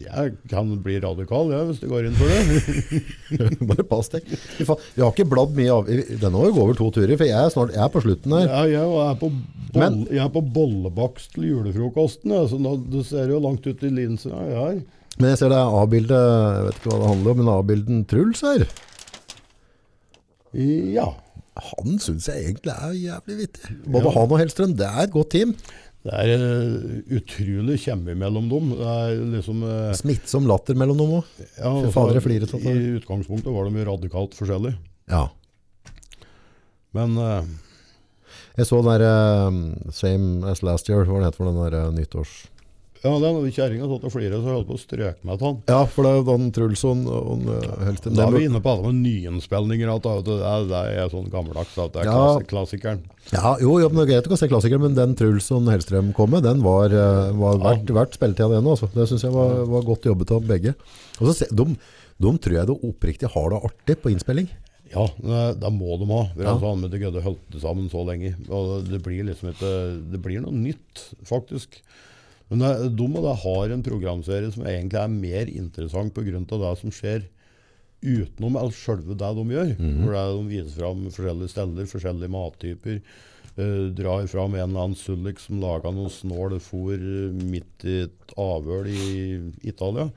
B: Jeg kan bli radikal, jeg, hvis du går inn for det.
A: Bare pass deg. Fy faen, Vi har ikke bladd mye av i- Denne har jo gått over to turer, for jeg er snart jeg er på slutten her.
B: Jeg, jeg er på, boll,
A: Men-
B: jeg er på bollebakst til julefrokosten. jeg, Så nå, du ser jo langt ut i linsen jeg er.
A: Men jeg ser det er A-bildet Jeg vet ikke hva det handler om, men A-bilden Truls her.
B: Ja.
A: Han syns jeg egentlig er jævlig vittig. Både han og Hellstrøm, det er et godt team.
B: Det er eh, utrolig kjemme mellom dem. Det er liksom eh,
A: Smittsom latter mellom dem òg.
B: Ja,
A: Fy
B: altså,
A: fader, jeg flirer til at
B: I
A: det-
B: utgangspunktet var de jo radikalt forskjellige.
A: Ja.
B: Men eh,
A: Jeg så den der eh, Same as last year, hva var det het for den der eh, nyttårs...
B: ja, den kjerringa satt og flira, så jeg holdt på å strøke meg av han.
A: Ja, for det er jo Dan Trulsson og og, eh, Hellstrøm.
B: Da
A: Det
B: er vi
A: burde-
B: inne på alle med nyinnspillinger. At det, det, er, det er sånn gammeldags at det er
A: Ja.
B: klassi- klassikeren.
A: Ja, jo, jo, men det er greit å se klassikere, men den Trulsson Hellstrøm kom med, den var, eh, var verdt, verdt spilletida det nå. Altså. Det syns jeg var, var godt jobbet av begge. Og så se, de, de tror jeg det oppriktig har det artig på innspilling.
B: Ja, det, det må de ha. For
A: Ja.
B: altså, han med det gødde holdt det sammen så lenge. Og det blir liksom ikke Det blir noe nytt, faktisk. Men det, de og det har en programserie som egentlig er mer interessant pga. det som skjer utenom alt selve det de gjør. For det er de viser fram forskjellige steder, forskjellige mattyper. eh, drar fram en eller annen sullik som laga noe snål fôr eh, midt i et avøl i Italia.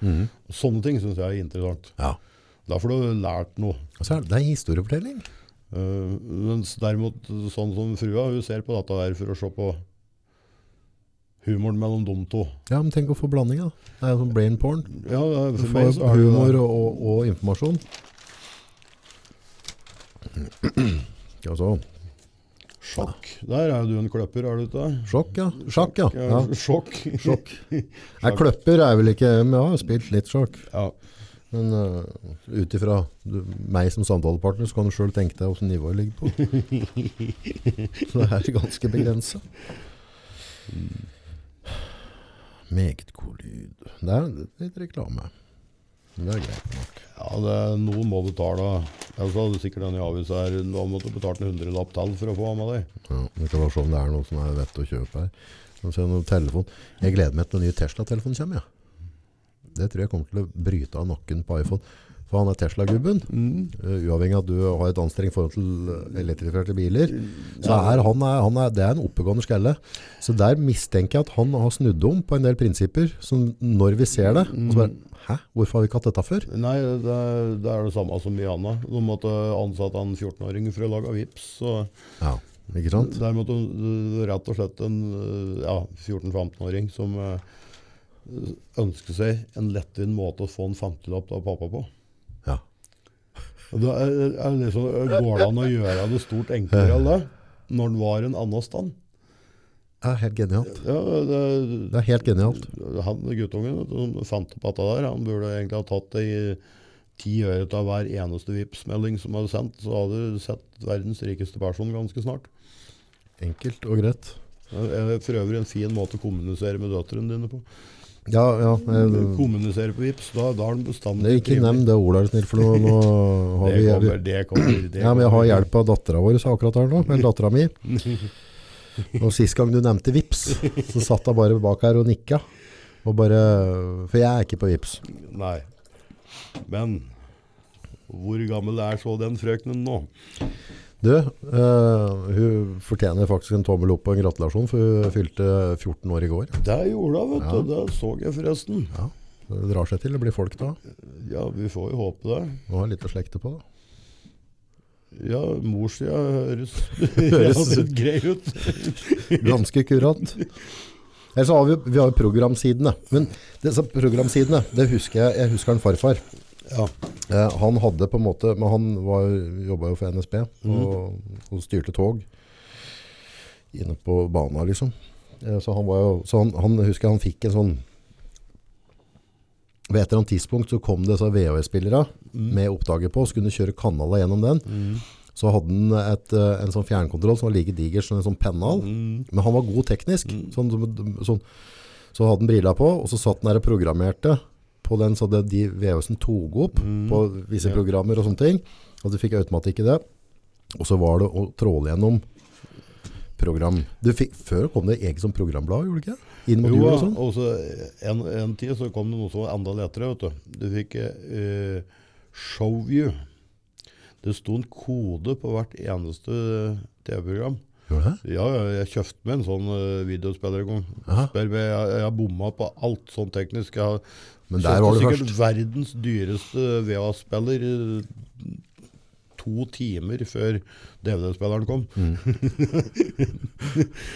B: Sånne ting syns jeg er interessant.
A: Ja.
B: Da får du lært noe.
A: Og så er det, det er historiefortelling.
B: Eh, mens derimot, sånn som frua, hun ser på dette der for å se på humoren mellom de to.
A: Ja, men tenk å få blandinga. Det er jo sånn brain porn.
B: Ja, det er-
A: Du
B: for meg
A: får
B: så er det
A: humor
B: det.
A: og, og, og informasjon. Ja, så.
B: Sjokk. Der er du en kløpper, er du ikke det?
A: Sjokk, ja. Sjakk, ja. ja.
B: Sjokk.
A: Sjokk. Nei, kløpper er vel ikke Men jeg har jo spilt litt sjakk.
B: *laughs* Ja.
A: Men uh, ut ifra du- meg som samtalepartner, så kan du sjøl tenke deg åssen nivået ligger på. Så det er ganske begrensa. Meget god lyd. Det er litt reklame. Men Det er greit nok.
B: ja, det er noen må betale. Ellers hadde sikkert denne avisa her nå måtte du betalt en hundrelapp til for å få av med det.
A: Ja, vi kan bare se om det er noe som er vett å kjøpe her. Skal vi se noe telefon. Jeg gleder meg til den nye Tesla-telefonen kommer, ja. Det tror jeg kommer til å bryte av nakken på iPhone. For han er Tesla-gubben. Eh, uavhengig av at du har et anstrengt forhold til eh, elektrifiserte biler, så er han, er, han er, det er en oppegående skalle. Så der mistenker jeg at han har snudd om på en del prinsipper, som når vi ser det, og så bare, hæ, hvorfor har vi ikke hatt dette før?
B: Nei, det, er- det er det samme som mye annet. De måtte ansette en 14-åring for å lage vips, så...
A: Ja, ikke sant?
B: Der måtte hun øh, rett og slett en øh, ja, 14-15-åring som øh, ønsker seg en lettvint måte å få en 50-lapp av pappa på.
A: Ja.
B: Og Da er, er liksom, går det an å gjøre det stort enklere enn det? Når den var en annen stand.
A: Det er helt genialt.
B: Ja, det,
A: Det er helt genialt.
B: han guttungen vet du, som fant opp dette der, han burde egentlig ha tatt det i ti øre av hver eneste Vipps-melding som hadde sendt, så hadde du sett verdens rikeste person ganske snart.
A: Enkelt og greit.
B: Det er For øvrig en fin måte å kommunisere med døtrene dine på.
A: Ja, ja. eh,
B: Kommunisere på VIPs, da, da har den bestandig
A: Det er ikke nevn det ordet, er du snill, for nå, nå
B: *laughs*
A: har
B: Det
A: vi,
B: kommer, det kommer. Det
A: Ja, men jeg har
B: kommer.
A: hjelp av dattera vår så akkurat her nå, eller dattera
B: *laughs*
A: mi. Og sist gang du nevnte Vips, så satt hun bare bak her og nikka. Og bare, for jeg er ikke på Vips.
B: Nei. Men hvor gammel er så den frøkenen nå?
A: Du, eh, hun fortjener faktisk en tommel opp og en gratulasjon, for hun fylte 14 år i går.
B: Det gjorde hun, vet du. Det så jeg forresten.
A: Ja, det drar seg til, det blir folk da.
B: Ja, vi får jo håpe det.
A: Nå har jeg litt å slekte på da.
B: Ja, morssida høres,
A: *laughs*
B: *laughs*
A: Høres-
B: høres grei ut.
A: Ganske kurant. Eller så har vi, vi har jo programsidene. Men disse programsidene, det husker jeg, jeg husker en farfar.
B: Ja.
A: Eh, han hadde på en måte, men han var- jobbet jo for NSB og, og styrte tog inne på bana liksom. Eh, Så han var jo, så han, han husker jeg han fikk en sånn, ved et eller annet tidspunkt så kom det så VHS-spillere med oppdaget på, så kunne du kjøre kanaler gjennom den. Så hadde han et, eh, en sånn fjernkontroll som var like diger som en sånn pennal,
B: Mm.
A: men han var god teknisk. Sånn, som- sånn, så hadde han brilla på, og så satt han der og programmerte på den, så det, de VHS-en tog opp på visse
B: Mm. ja.
A: programmer og sånne ting, og du fikk automatikk i det. Og så var det å tråle gjennom program. Du fikk, før kom det eget som programblad, gjorde det ikke? det? Inn
B: Jo,
A: modul og
B: ja,
A: sånn.
B: og så en, en tid så kom det noe som var enda lettere, vet du. Du fikk eh, Showview. Det sto en kode på hvert eneste TV-program.
A: Gjorde det?
B: Ja, ja, jeg kjøpte meg en sånn eh, videospiller en gang.
A: Aha.
B: Spør meg, jeg, jeg har bomma på alt sånn teknisk. Jeg har
A: Men der var du
B: sikkert
A: først.
B: verdens dyreste VA-spiller eh, to timer før DVD-spilleren kom.
A: Mm.
B: *laughs*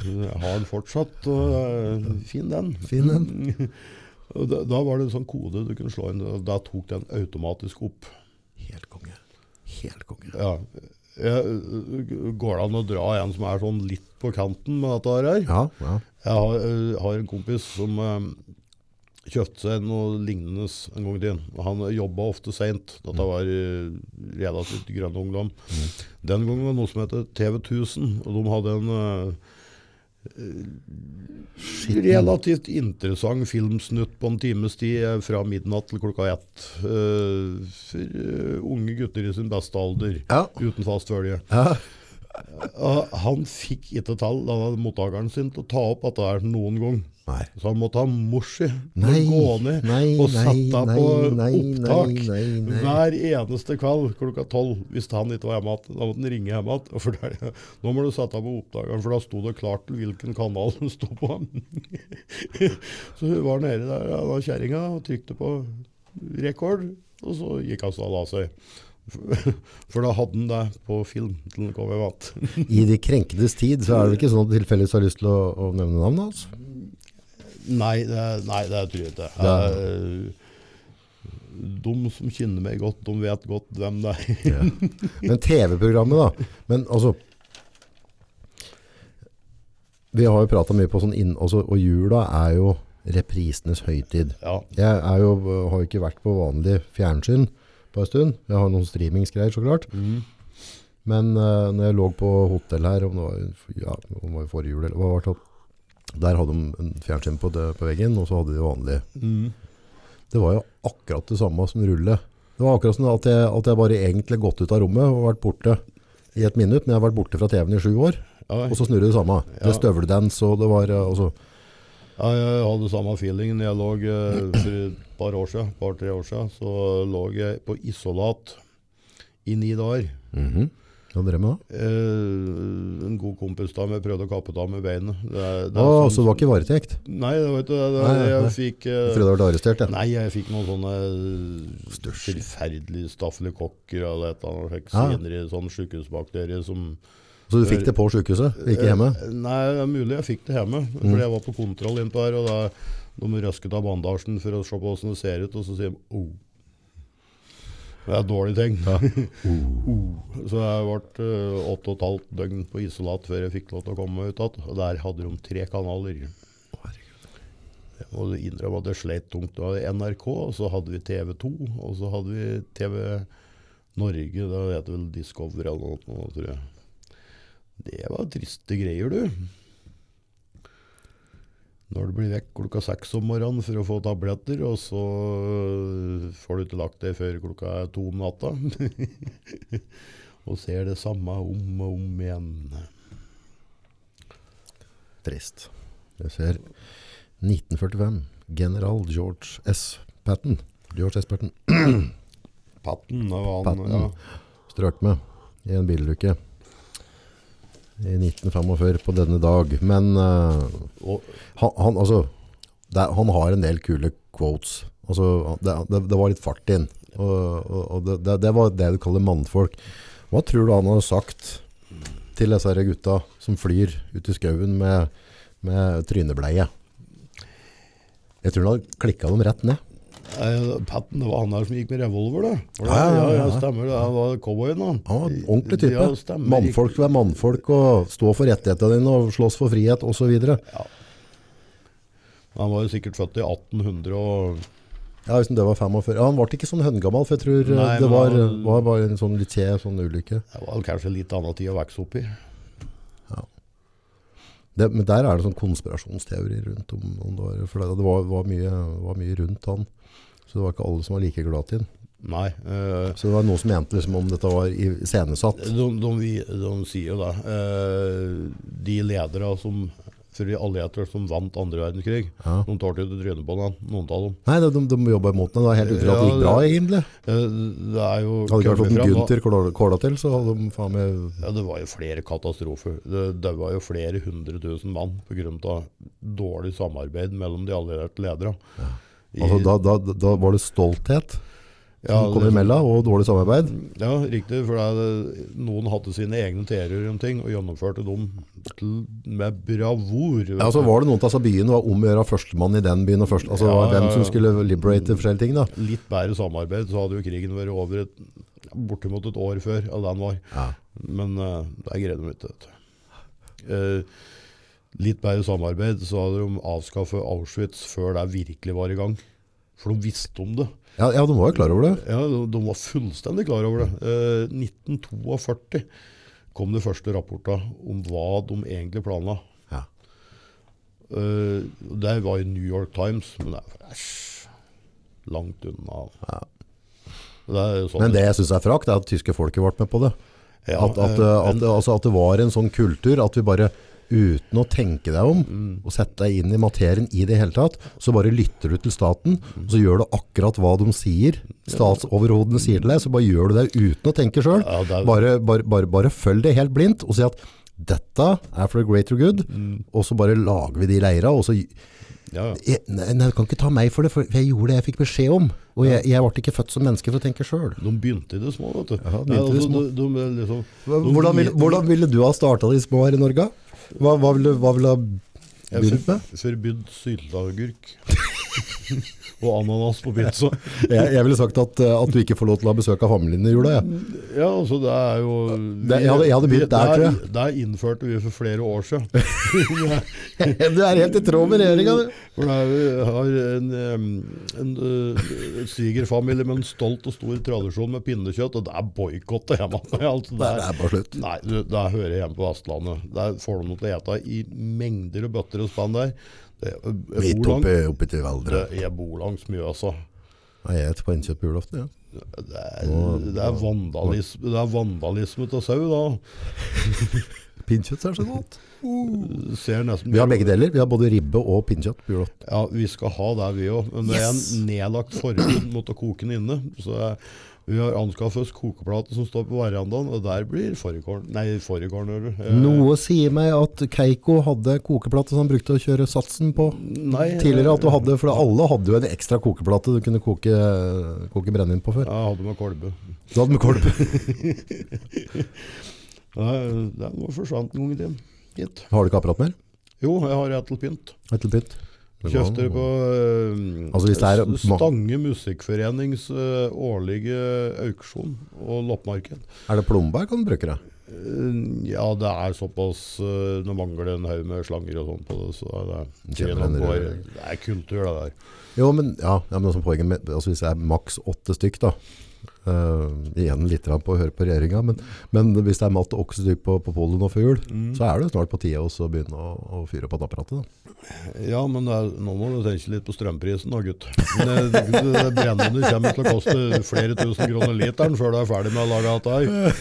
B: jeg har den fortsatt, og eh, fin den.
A: Fin den.
B: *laughs* Og Da, da var det en sånn kode du kunne slå inn, og da tok den automatisk opp.
A: Helt konge. Helt konge.
B: Ja. Jeg, eh, går det an å dra en som er sånn litt på kanten med dette her?
A: Ja, ja.
B: Jeg har, eh, har en kompis som eh, kjøpte seg noe lignende en gang i tiden. Han jobba ofte seint. Dette var eh, relativt grønn ungdom. Den gangen var det noe som het TV 1000, og de hadde en eh, relativt interessant filmsnutt på en times tid eh, fra midnatt til klokka ett. eh, for eh, unge gutter i sin beste alder,
A: Ja.
B: uten fast følge.
A: ja.
B: Og han fikk ikke tall, denne mottakeren sin, til å ta opp dette her noen gang.
A: Nei.
B: Så han måtte ha morsi til å
A: Nei,
B: gå ned
A: nei,
B: og
A: nei,
B: sette
A: nei,
B: på
A: nei,
B: opptak
A: nei, nei, nei.
B: hver eneste kveld klokka tolv. Hvis han ikke var hjemme igjen, da måtte han ringe hjem igjen og fortelle nå må du sette på opptakeren, for da sto det klart til hvilken kanal den sto på. *laughs* så hun var nede der, ja, da kjerringa, og trykte på rekord, og så gikk hun så og la seg. *laughs* For da hadde han det på film til han kom hjem igjen.
A: I de krenkedes tid så er det vel ikke sånn at du tilfeldigvis har lyst til å, å nevne navnet hans.
B: Nei, det, nei, det tror jeg ikke. Jeg, de som kjenner meg godt, de vet godt hvem det er. *laughs*
A: Men TV-programmet da Men altså Vi har jo pratet mye på sånn inn, altså, Og jula er jo reprisenes høytid
B: Ja,
A: Jeg er jo, har jo ikke vært på vanlig fjernsyn På en stund Jeg har noen streamingsgreier så klart
B: Mm.
A: Men eh, når jeg lå på hotell her Om det var, ja, om det var i forrige jul eller hva var det Der hadde de en fjernsyn på, det, på veggen Og så hadde de vanlig
B: Mm.
A: Det var jo akkurat det samme som rulle. Det var akkurat som at jeg, at jeg bare egentlig har gått ut av rommet og vært borte i et minutt, men jeg har vært borte fra TV-en i sju år,
B: ja,
A: og så snurrer det samme.
B: Ja.
A: Det er støveldans, og det var eh, altså,
B: ja, jeg hadde samme feelingen. Jeg lå eh, for et par år siden, par-tre år siden, så lå jeg på isolat i ni dager.
A: Hva drev jeg med da?
B: Eh, en god kompis da, men jeg prøvde å kappe det av med beinet. Det, er- det
A: Å,
B: er
A: så
B: sånn-
A: det var ikke i varetekt?
B: Nei, det var ikke det. det,
A: Nei, nei,
B: jeg
A: nei.
B: fikk...
A: Jeg
B: eh,
A: trodde jeg ble arrestert, jeg.
B: Nei, jeg fikk noen sånne forferdelige staffelkokker eller et eller annet
A: Ja.
B: senere i sånn sykehusbakterier som
A: Så du fikk det på sykehuset, ikke hjemme?
B: Eh, Nei, det er mulig jeg fikk det hjemme, for jeg var på kontroll innpå her, og da de røsket av bandasjen for å se på hvordan det ser ut, og så sier de oh. Det er dårlige ting. *laughs* oh. Så jeg ble eh, åtte og et halvt døgn på isolat før jeg fikk lov til å komme meg ut igjen. Og der hadde de tre kanaler. Jeg må innrømme at det sleit tungt. Da hadde NRK, og så hadde vi TV 2, og så hadde vi TV Norge, da heter det vel Discover eller noe, sånt, tror jeg. Det var triste greier, du. Når du blir vekk klokka seks om morgenen for å få tabletter, og så øh, får du ikke lagt deg før klokka er to om natta. *laughs* og ser det samme om og om igjen.
A: Trist. Jeg ser 1945, general George S. Patton. George S. Patton
B: Patten det var han.
A: Patten. strøk med i en bilulykke i 1945 på denne dag. Men eh,
B: Ja. Og,
A: han, han, altså, det, er- han har en del kule quotes. Altså, det, det, det var litt fart inn. Og, og, og det, det, det var det du kaller mannfolk. Hva tror du han har sagt til disse her gutta som flyr ut i skauen med, med trynebleie? Jeg tror han har klikket dem rett ned.
B: Eh, Patten, det var han der som gikk med revolver, da. Var det?
A: Ja,
B: Ja,
A: ja,
B: ja,
A: ja.
B: stemmer det. Han var cowboyen, han.
A: Ja, en ordentlig type.
B: Ja, stemmer.
A: mannfolk skal være mannfolk og stå for rettighetene dine og slåss for frihet osv.
B: Han var jo sikkert født i 1800 og
A: Ja, liksom det var 45. Ja, han ble ikke sånn høngammal, for jeg tror eh,
B: Nei,
A: det
B: men
A: var,
B: han-
A: var bare en sånn litt kje, sånn ulykke.
B: Det var vel kanskje litt annen tid å vokse opp i.
A: Det, men der er det sånn konspirasjonsteori rundt om, om det var, for det, det var, var, mye, var mye rundt han. Så det var ikke alle som var like glad til han.
B: Nei. eh,
A: Så det var noen som mente liksom om dette var iscenesatt.
B: de, de, vi- de sier jo da eh, De ledere som for de allierte som vant andre verdenskrig,
A: Ja.
B: de tar til det trynet på den, noen av dem.
A: Nei, det, de, de jobba imot det. Det var helt utrolig at det gikk bra, egentlig.
B: Eh, Det er jo
A: Hadde det ikke vært fått
B: kommet
A: en
B: fram da-
A: Gunther kåla- kåla til, så hadde de faen meg
B: Ja, det var jo flere katastrofer. Det daua jo flere hundre tusen mann pga. dårlig samarbeid mellom de allierte lederne. I-
A: altså, da, da, da var det stolthet
B: ja,
A: som kom
B: det-
A: imellom, og dårlig samarbeid.
B: Ja, riktig. For det, er- noen hadde sine egne teorier om ting, og gjennomførte dem til, med bravur. vet
A: Ja, altså
B: du.
A: var det noen av altså, byene var om å gjøre førstemann i den byen, og først, altså
B: Ja,
A: var det
B: ja,
A: hvem
B: ja.
A: som skulle liberate forskjellige ting da.
B: Litt bedre samarbeid, så hadde jo krigen vært over et, bortimot et år før enn den var.
A: Ja.
B: Men eh, det greide de ikke. Vet du. Eh, litt bedre samarbeid, så hadde de avskaffet Auschwitz før det virkelig var i gang. For de visste om det.
A: Ja, ja, de var jo klar over det.
B: Ja, De, de var fullstendig klar over det. Eh, 1942 kom de første rapportene om hva de egentlig planla.
A: Ja.
B: Eh, det var i New York Times, men det er æsj, langt unna.
A: Ja.
B: Det er jo sånn,
A: Men det jeg synes er frakt er at tyske folket ble med på det.
B: Ja,
A: At, at,
B: eh,
A: eh, at, altså, at det var en sånn kultur at vi bare uten å tenke deg om
B: Mm.
A: og sette deg inn i materien i det hele tatt, så bare lytter du til staten,
B: Mm.
A: og så gjør du akkurat hva de sier, statsoverhodene sier til deg, så bare gjør du det uten å tenke selv.
B: Ja, det er-
A: bare, bare, bare, bare følg det helt blindt og si at dette er for the greater good,
B: Mm.
A: og så bare lager vi de leira, og så
B: ja, ja.
A: jeg, nei, nei, du kan ikke ta meg for det, for jeg gjorde det jeg fikk beskjed om. Og jeg, jeg ble ikke født som menneske for å tenke sjøl.
B: De begynte i det små, vet du.
A: Ja, de
B: Nei,
A: begynte i det
B: altså, de, de, de, liksom, de-
A: Hvordan, ville- hvordan ville du ha starta de små her i Norge? Hva, hva ville hva ville du ha
B: Jeg
A: begynt
B: for,
A: med?
B: forbudt sylteagurk *laughs* og ananas på pizza.
A: Jeg, jeg ville sagt at, eh, at du ikke får lov til å ha besøk av familien din i jula. Jeg. *laughs*
B: Ja, altså det er jo
A: Det- jeg hadde- jeg hadde begynt der, tror jeg.
B: Der innførte vi for flere år
A: *laughs*
B: siden. *laughs*
A: Du er helt i tråd med regjeringa.
B: For der vi har en, em, en eh, svigerfamilie med en stolt og stor tradisjon med pinnekjøtt, og det er boikott hjemme. *laughs* Altså,
A: Det er bare slutt.
B: Nei, du, det hører jeg hjemme på Vestlandet. Der får de noe til å ete i mengder og bøtter og spann der. Det, jeg, jeg,
A: Midt
B: bor langt,
A: oppi, oppi til Valdre.
B: jeg bor langs Mjøsa.
A: Nei, Jeg spiser på innkjøp på julaften. Ja.
B: Det er, det er vandalisme, det er vandalisme til sau, da.
A: Pinnkjøtt er så godt.
B: Du Ser nesten
A: Vi har begge deler. Vi har både ribbe og pinnkjøtt på julaften.
B: Ja, vi skal ha det, vi òg. Men det er en
A: Yes!
B: nedlagt forbud mot å koke den inne. Så eh, vi har anskaffet oss kokeplate som står på verandaen, og der blir fårikål Nei, fårikål, hører du. Eh,
A: Noe sier meg at Keiko hadde kokeplate som han brukte å kjøre satsen på.
B: nei, eh,
A: tidligere at du hadde, for alle hadde jo en ekstra kokeplate du kunne koke, koke brennevin på før.
B: Ja, jeg hadde med kolbe.
A: Da hadde vi kolb.
B: Nei, Den var forsvant en gang i tiden. Gitt.
A: Har du ikke apparat mer?
B: Jo, jeg har et til pynt.
A: Et til pynt?
B: Kjøpte det på eh,
A: Altså, hvis det er-
B: S- Stange Musikkforenings eh, årlige auksjon og loppemarked.
A: Er det plombær kan du bruke det?
B: Eh, Ja, det er såpass eh, Det mangler en haug med slanger og sånn på det, så det er,
A: Kjenner en
B: det
A: rød-
B: er, det er kultur, det der.
A: Jo, men ja, ja men også poenget med, altså hvis det er maks åtte stykk da, eh, igjen litt grann på å høre på regjeringen, men, men hvis det er matt åtte stykk på, på polet nå før jul, så er det jo snart på tide også å begynne å, å fyre opp et apparatet da.
B: Ja, men det er, nå må du tenke litt på strømprisen da, gutt. Det, det, det brennende kommer til å koste flere tusen kroner literen før du er ferdig med å lage dette her.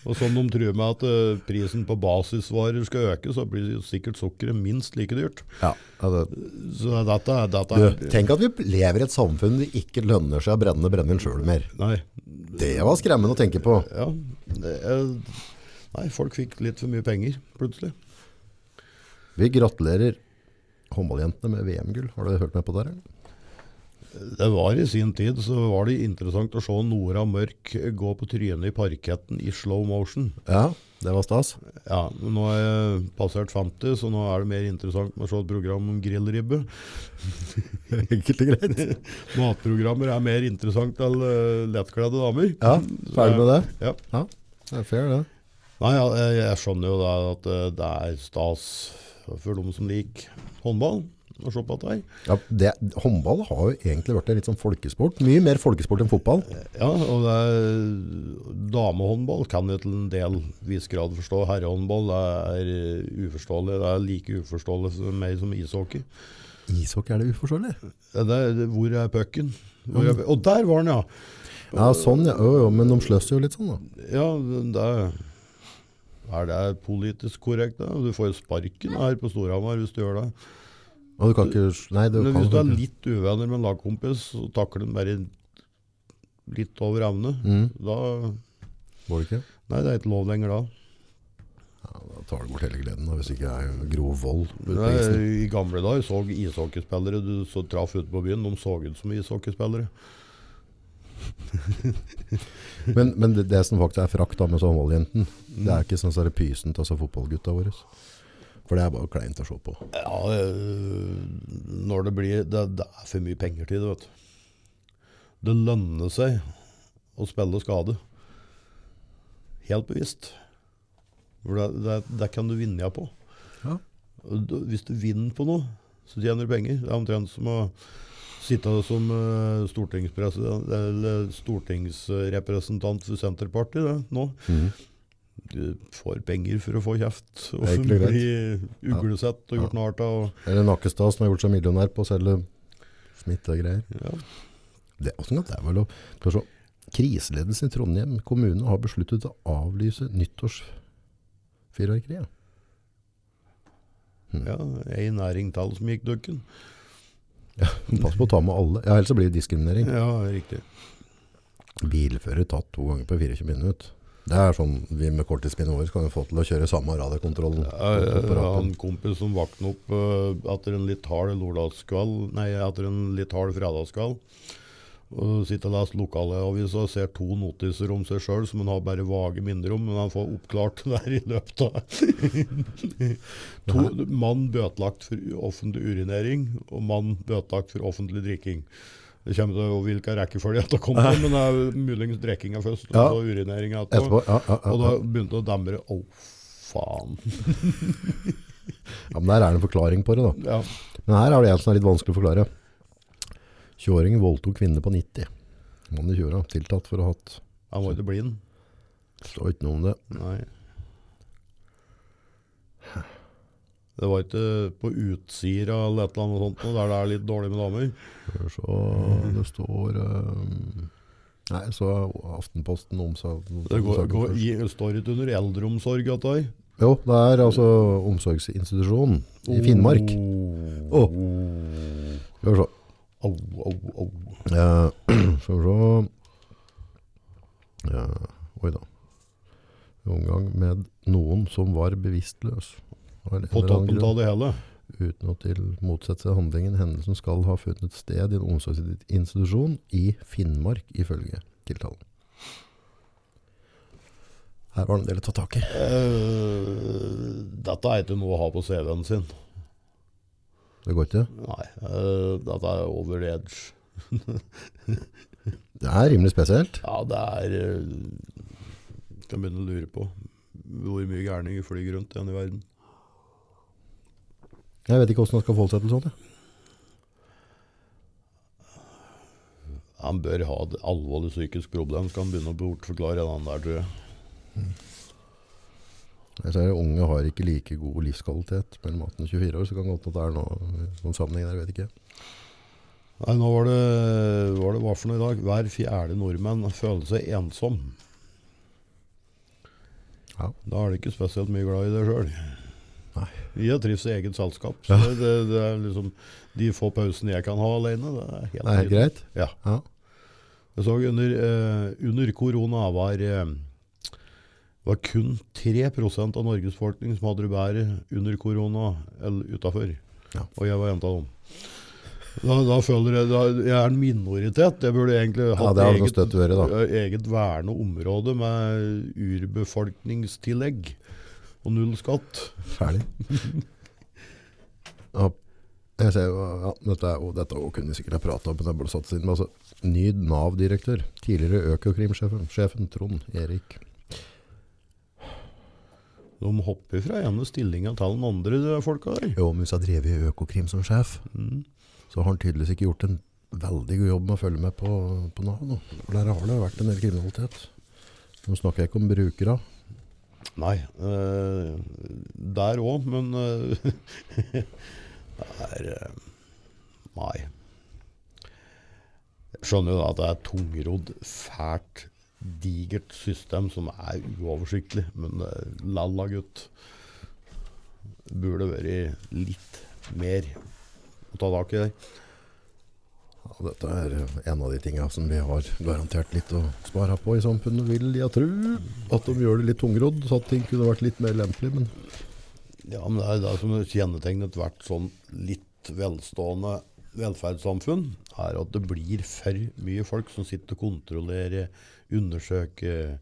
B: Og som de truer med at eh, prisen på basisvarer skal øke, så blir jo sikkert sukkeret minst like dyrt.
A: Ja, det,
B: Så dette, er- dette
A: du,
B: er
A: tenk at vi lever i et samfunn det ikke lønner seg å brenne brennevin selv mer.
B: Nei.
A: Det var skremmende å tenke på.
B: Ja. Det er, nei, folk fikk litt for mye penger plutselig.
A: Vi gratulerer håndballjentene med VM-gull. Har du hørt med på det? eller?
B: Det var i sin tid så var det interessant å se Nora Mørk gå på trynet i parketten i slow motion.
A: Ja. Det var stas.
B: Ja, men nå er jeg passert 50, så nå er det mer interessant med å se et program om grillribbe. *laughs*
A: Enkelt og greit.
B: Matprogrammer er mer interessant til eh, lettkledde damer.
A: Ja, ferdig med det.
B: Ja.
A: Det er fair, det.
B: Nei, ja, jeg, jeg skjønner jo da at eh, det er stas for dem som liker håndball, å se på dette her.
A: Ja, det, håndball har jo egentlig vært en litt sånn folkesport. Mye mer folkesport enn fotball.
B: Ja, og det er, damehåndball kan jeg til en del viss grad forstå. Herrehåndball er eh, uforståelig. Det er like uforståelig som meg som ishockey.
A: Ishockey er det uforståelig.
B: Ja, Det er, hvor er pucken? Hvor er, og der var den, ja!
A: Ja, sånn, ja. Jo, jo, men de sløser jo litt sånn, da.
B: Ja, det er, er det politisk korrekt, da? Du får jo sparken her på Storhamar hvis du gjør det.
A: Og du kan ikke Nei, du
B: Men
A: kan
B: hvis du er
A: ikke-
B: litt uvenner med en lagkompis, så takler den bare litt over evne.
A: Mm.
B: Da
A: Går det ikke?
B: Nei, det er ikke lov lenger da.
A: Ja, da tar du bort hele gleden, da, hvis ikke det er grov vold ute på
B: Nei,
A: isen.
B: I gamle dager så ishockeyspillere du så traff ute på byen, de så ut som ishockeyspillere.
A: Men, men det, det som faktisk er frakt da med sånn håndballjenten, det er ikke sånn så er det pysen til altså fotballgutta våre. For det er bare kleint å se på.
B: Ja, øh, når det blir det, det er for mye penger til det, vet du. Det lønner seg å spille skade. Helt bevisst. For det, det, det kan du vinne på.
A: Ja.
B: Og du- Hvis du vinner på noe, så tjener du penger. Det er omtrent som å sitte som eh, stortingspresident, eller stortingsrepresentant for Senterpartiet det, nå.
A: Mhm.
B: Du får penger for å få kjeft og
A: Det er egentlig greit.
B: bli uglesett og gjort narr av. og-
A: Eller Nakkestad som har gjort seg millionær på å selge smittegreier.
B: Ja.
A: Det, hvordan kan det være lov? Skal vi se. Kriseledelsen i Trondheim kommune har besluttet å avlyse nyttårsfyrverkeriet.
B: Ja, ei næring til som gikk dukken.
A: Pass på å ta med alle. Ja, ellers så blir det diskriminering.
B: Ja, riktig.
A: Bilfører tatt to ganger på 24 minutter. Det er sånn vi med korttidsminne over kan jo få til å kjøre samme radiokontrollen.
B: Jeg jeg har
A: Ja,
B: en Eh, kompis som våkna opp eh, etter en litt hard lørdagskveld, nei, etter en litt hard fredagskveld. Og sitter og leser lokalavisa og ser to notiser om seg sjøl som han har bare vage minner om, men han får oppklart *laughs* det her i løpet *laughs* av to, Mann bøtelagt for u- offentlig urinering og mann bøtelagt for offentlig drikking. Det kommer til å- hvilken rekkefølge dette kommer til, men det er muligens drikkinga først, og
A: Ja.
B: så urineringa etterpå.
A: Etterpå, ja, ja, ja,
B: Og da
A: ja.
B: begynte det å demre. Å, faen.
A: ja, men der er det en forklaring på det da.
B: Ja.
A: Men her er det en som er litt vanskelig å forklare. 20-åringen voldtok kvinne på 90. Mann i 20-åra, tiltatt for å ha hatt.
B: Han var ikke blind.
A: Står ikke noe om det.
B: Nei. Det var ikke på utsida eller et eller annet sånt, noe, der det er litt dårlig med damer.
A: Skal vi se, det står eh, Nei, så Aftenposten omsag...
B: Det går, går, i, står ikke under eldreomsorg, dette her.
A: Jo, det er altså omsorgsinstitusjonen
B: Oh.
A: i Finnmark. Å. Skal vi se.
B: Au, au, au.
A: Eh, *clears throat* Skal vi se Eh, Oi da. Omgang med noen som var bevisstløs. Av en eller
B: På
A: annen
B: toppen
A: grunn.
B: av det hele.
A: uten å til motsette seg handlingen. Hendelsen skal ha funnet sted i en omsorgsinstitusjon i Finnmark, ifølge tiltalen. Her var det en del å ta tak i.
B: Eh, dette er ikke noe å ha på CV-en sin.
A: Det går ikke.
B: Nei, eh, dette er over the edge.
A: Det er rimelig spesielt.
B: Ja, det er eh, Kan begynne å lure på hvor mye gærninger flyr rundt igjen i verden.
A: Jeg vet ikke hvordan han skal forholde seg til sånt. jeg.
B: Han bør ha et alvorlig psykisk problem, skal han begynne å bortforklare den der, tror jeg.
A: Jeg ser Unge har ikke like god livskvalitet mellom 18 og 24 år, så kan det godt at det er noe, noen sammenheng der, jeg vet ikke.
B: Nei, nå var det, var det hva for noe i dag? Hver fjerde nordmenn føler seg ensom.
A: Ja.
B: Da er de ikke spesielt mye glad i det sjøl.
A: Nei.
B: Jeg trives i eget selskap. Så det, det, det er liksom De få pausene jeg kan ha alene, det er helt
A: Det er helt
B: nydelig.
A: greit.
B: Ja.
A: Ja.
B: Jeg så under, eh, under korona var, eh, var kun 3 av Norges befolkning som hadde det bedre under korona eller utafor.
A: Ja.
B: Og jeg var en av dem. Da, da føler jeg da, jeg er en minoritet. Jeg burde egentlig
A: Ja,
B: hatt
A: det har noe
B: eget,
A: støtt å gjøre, da.
B: eget verne område med urbefolkningstillegg og null skatt.
A: *laughs* Ferdig. Ja, jeg ser jo, ja, dette, er, jo- dette også kunne vi sikkert ha pratet om, men jeg burde satt inn. Altså, ny NAV-direktør, tidligere Økokrim-sjefen, sjefen Trond Erik.
B: De hopper fra ene stillinga til den andre, de folka der.
A: Jo, men hvis jeg drev i Økokrim som sjef,
B: Mm.
A: så har han tydeligvis ikke gjort en veldig god jobb med å følge med på, på NAV. nå. For der har det jo vært en del kriminalitet. Nå snakker jeg ikke om brukere.
B: Nei. eh, der òg, men eh, *laughs* det er, eh, Nei. Jeg skjønner jo da at det er et tungrodd, fælt, digert system som er uoversiktlig, men eh, lalla, gutt. Burde vært litt mer å ta tak i der.
A: Ja, dette er eh, en av de tingene som vi har garantert litt å spare på i samfunnet, vil jeg tro. At de gjør det litt tungrodd, så at ting kunne vært litt mer lempelig. Men
B: Ja, men det er det som kjennetegner ethvert sånn litt velstående velferdssamfunn, er at det blir for mye folk som sitter og kontrollerer, undersøker,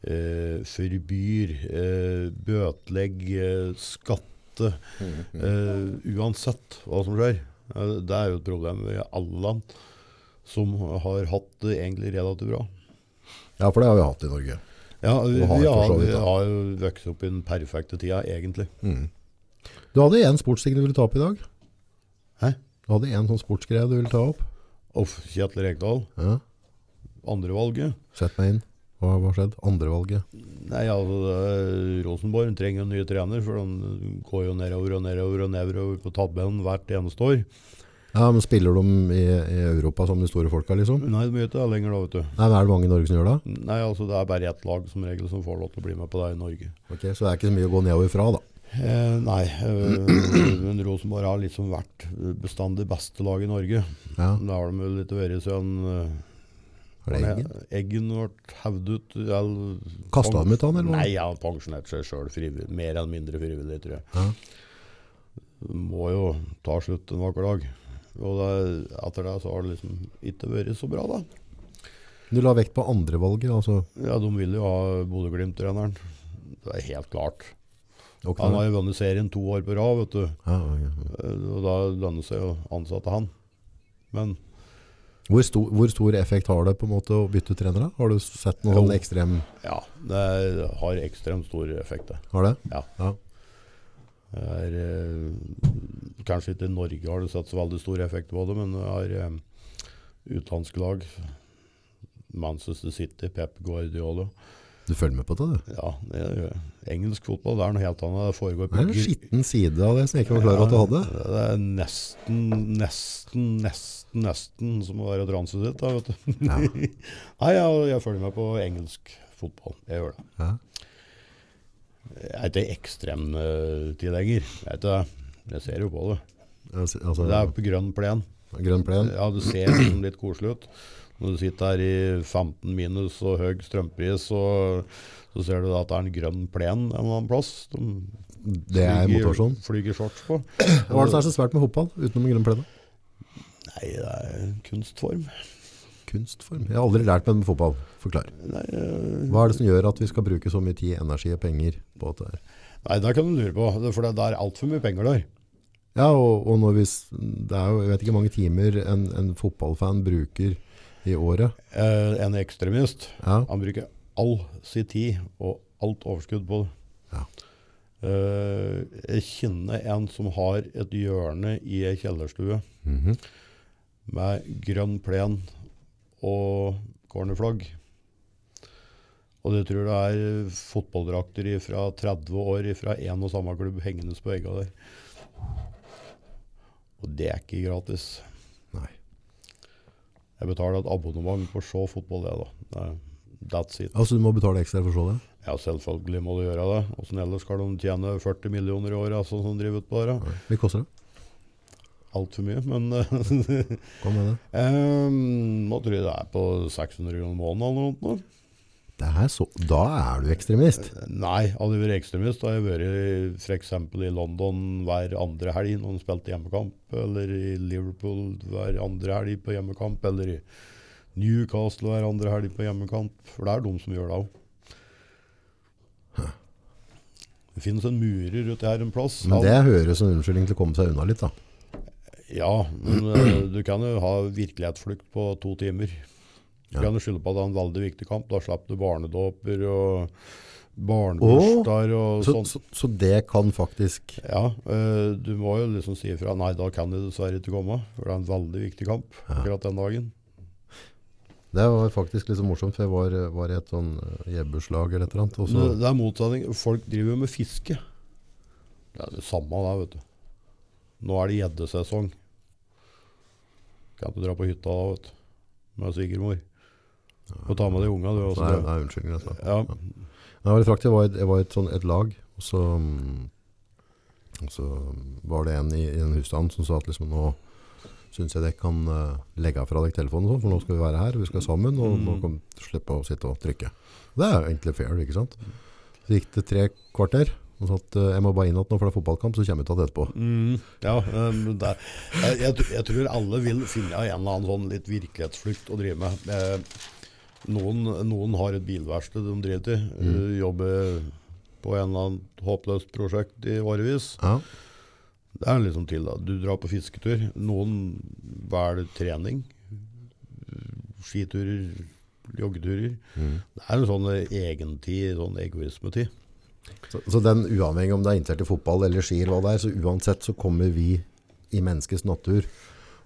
B: eh, forbyr, eh, bøtelegger, skatter.
A: Mm.
B: Eh, uansett hva som skjer. Eh, det er jo et problem i alle land som har hatt det egentlig relativt bra.
A: ja, for det har vi hatt i Norge.
B: Ja, vi,
A: Og har
B: vi,
A: for
B: har,
A: så vidt,
B: vi
A: da.
B: har jo vokst opp i den perfekte tida, egentlig.
A: Du hadde én sportsting du ville ta opp i dag.
B: Hæ?
A: Du hadde én sånn sportsgreie du ville ta opp.
B: Uff, Kjetil Rekdal.
A: Ja.
B: andrevalget.
A: Sett meg inn. Hva hva har skjedd? Andrevalget.
B: Nei, altså, det er- Rosenborg trenger en ny trener, for de går jo nedover og nedover og nedover på tabellen hvert eneste år.
A: Ja, men spiller de i, i Europa som de store folka, liksom?
B: Nei, de gjør ikke det lenger da, vet du.
A: Nei, men Er det mange i Norge som gjør det?
B: Nei, altså, det er bare ett lag som regel som får lov til å bli med på det i Norge.
A: Ok, Så det er ikke så mye å gå nedover fra, da.
B: Eh, nei, eh, men Rosenborg har liksom vært bestandig beste lag i Norge.
A: Ja,
B: Da har de vel litt vært sånn eh,
A: er det ingen?
B: Eggen ble hevd ut eller-
A: Kastet han ut, han, eller hva?
B: Nei, han pensjonerte seg sjøl frivillig. Mer eller mindre frivillig, tror jeg.
A: Ja.
B: Må jo ta slutt en vakker dag. Og det, etter det så har det liksom ikke vært så bra, da.
A: Du la vekt på andrevalget, altså?
B: Ja, De vil jo ha Bodø-Glimt-treneren. Det er helt klart.
A: Ok.
B: Han har jo vunnet serien to år på rad, vet du.
A: Ja, ok.
B: Eh, Og da lønner det seg å ansette han. Men
A: Hvor stor, hvor stor effekt har det på en måte å bytte trenere? Har du sett noe
B: Jo.
A: sånn ekstrem
B: ja, det har ekstremt stor effekt, det.
A: Har det?
B: Ja.
A: Ja.
B: Det er, eh, kanskje ikke i Norge har det satt så veldig stor effekt på det, men det har eh, utenlandske lag Manchester City, Pep Guardiola
A: Du følger med på det, du?
B: Ja, det gjør jeg. Engelsk fotball det er noe helt annet. Det foregår
A: Det er en
B: gr-
A: skitten side av det som jeg ikke var klar over at du hadde.
B: Ja, Det er nesten, nesten, nesten, nesten som å være transet ditt, da, vet du.
A: Ja.
B: *laughs* Nei, jeg, jeg følger med på engelsk fotball. Jeg gjør det.
A: Ja.
B: Jeg er ikke ekstremtilhenger. Jeg er ikke det. Jeg ser jo på det.
A: Altså, altså,
B: Det er på grønn plen.
A: grønn plen.
B: Ja, det ser liksom litt koselig ut. Når du sitter her i 15 minus og høy strømpris, så, så ser du da at det er en grønn plen en eller annen plass. De
A: Det er
B: flyger-
A: motivasjon.
B: Flyger shorts på.
A: Hva er sånn? det som er så svært med fotball utenom grønn plen? da?
B: Nei, det er en kunstform.
A: Kunstform. Jeg har aldri lært meg med fotball. Forklar.
B: Nei, eh,
A: Hva er det som gjør at vi skal bruke så mye tid, energi og penger på dette? her?
B: nei det kan du lure på, det- for det det er altfor mye penger der.
A: Ja, og, og når vi, s- det er jo, jeg vet ikke hvor mange timer en, en fotballfan bruker i året.
B: Eh, en ekstremist,
A: Ja.
B: han bruker all sin tid og alt overskudd på det.
A: Ja.
B: Eh, jeg kjenner en som har et hjørne i ei kjellerstue.
A: Mhm.
B: med grønn plen og cornerflagg. Og du tror det er fotballdrakter fra 30 år fra én og samme klubb hengende på vegga der. Og det er ikke gratis.
A: Nei.
B: Jeg betaler et abonnement på å se fotball, jeg, da. Det er- That's it.
A: Altså, du må betale ekstra for å se det?
B: Ja, selvfølgelig må du gjøre det. Åssen ellers skal de tjene 40 millioner i året, altså, som driver ut på det?
A: Nei. Hva koster det?
B: Altfor mye, men eh, *laughs*
A: Hva med det?
B: Um, nå tror jeg det er på 600 kroner måneden eller noe. sånt nå.
A: Det er så, da er du ekstremist.
B: Nei, hadde jeg vært ekstremist, hadde jeg vært f.eks. i London hver andre helg når de spilte hjemmekamp, eller i Liverpool hver andre helg på hjemmekamp, eller i Newcastle hver andre helg på hjemmekamp. For det er de som gjør det òg. Det finnes en murer ute her en plass.
A: Men
B: Han-
A: det høres som en unnskyldning til å komme seg unna litt, da.
B: Ja,
A: *clears throat*
B: men eh, du kan jo ha virkelighetsflukt på to timer. Du
A: Ja.
B: kan jo skylde på at det er en veldig viktig kamp. Da slapp du barnedåper og barnebursdager og sånn.
A: Så,
B: sånt.
A: så, så det kan faktisk
B: Ja, eh, du må jo liksom si ifra. Nei, da kan jeg dessverre ikke komme. For det er en veldig viktig kamp
A: Ja.
B: akkurat den dagen.
A: Det var faktisk litt så morsomt, for jeg var, var i et sånn eh, jebbuslag eller et eller annet. Og så,
B: Det- Det er motsetning. Folk driver jo med fiske. Det er det samme der, vet du. Nå er det gjeddesesong. Kan ikke dra på hytta da, vet du. Med svigermor. Og ta med de unga, du.
A: så
B: Også,
A: det er, det er unnskyldning, altså.
B: Ja,
A: Men Det var litt praktisk. Jeg var i et, jeg var i et, sånn, et lag, og så, mm, og så var det en i, i den husstanden som sa at liksom, nå syns jeg dere kan eh, legge fra dere telefonen, og sånn, for nå skal vi være her, vi skal sammen, og nå
B: Mm.
A: kan vi slippe å sitte og trykke. Det er jo egentlig fair, ikke sant? Så gikk det tre kvarter, og så at eh, jeg må bare inn igjen nå, for det er fotballkamp, så kommer vi til det etterpå.
B: mm, ja um, det er- jeg, jeg, tr- jeg tror alle vil finne en eller annen sånn litt virkelighetsflukt å drive med. Eh, noen, noen har et bilverksted de driver i. eh, Jobber på en eller annen håpløst prosjekt i årevis.
A: Ja,
B: Det er liksom til, da. Du drar på fisketur. Noen velger trening. Skiturer, joggeturer.
A: mm.
B: Det er en sånn eh, egentid, sånn egoismetid.
A: Så, så den uavhengig om det er interessert i fotball eller ski eller hva det er, så uansett så kommer vi i menneskets natur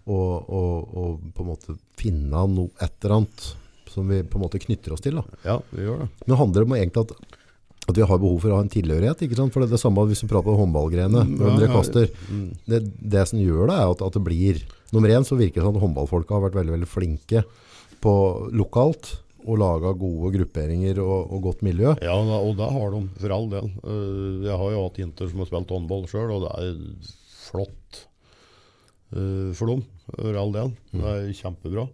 A: og, og, og på en måte finne noe et eller annet som vi på en måte knytter oss til. Da.
B: Ja, vi gjør det.
A: Men det handler om egentlig at, at vi har behov for å ha en tilhørighet, ikke sant? For det er det samme hvis vi prater om håndballgreiene,
B: Mm,
A: når
B: ja,
A: dere
B: ja.
A: kaster.
B: Mm.
A: Det, det som gjør det er at, at det blir, nummer én så virker det sånn at håndballfolka har vært veldig, veldig flinke på lokalt og laget gode grupperinger og, og godt miljø.
B: Ja, da, og det har de, for all del. Eh, jeg har jo hatt jenter som har spilt håndball sjøl, og det er flott eh, for dem, for all del.
A: Mm.
B: Det er kjempebra.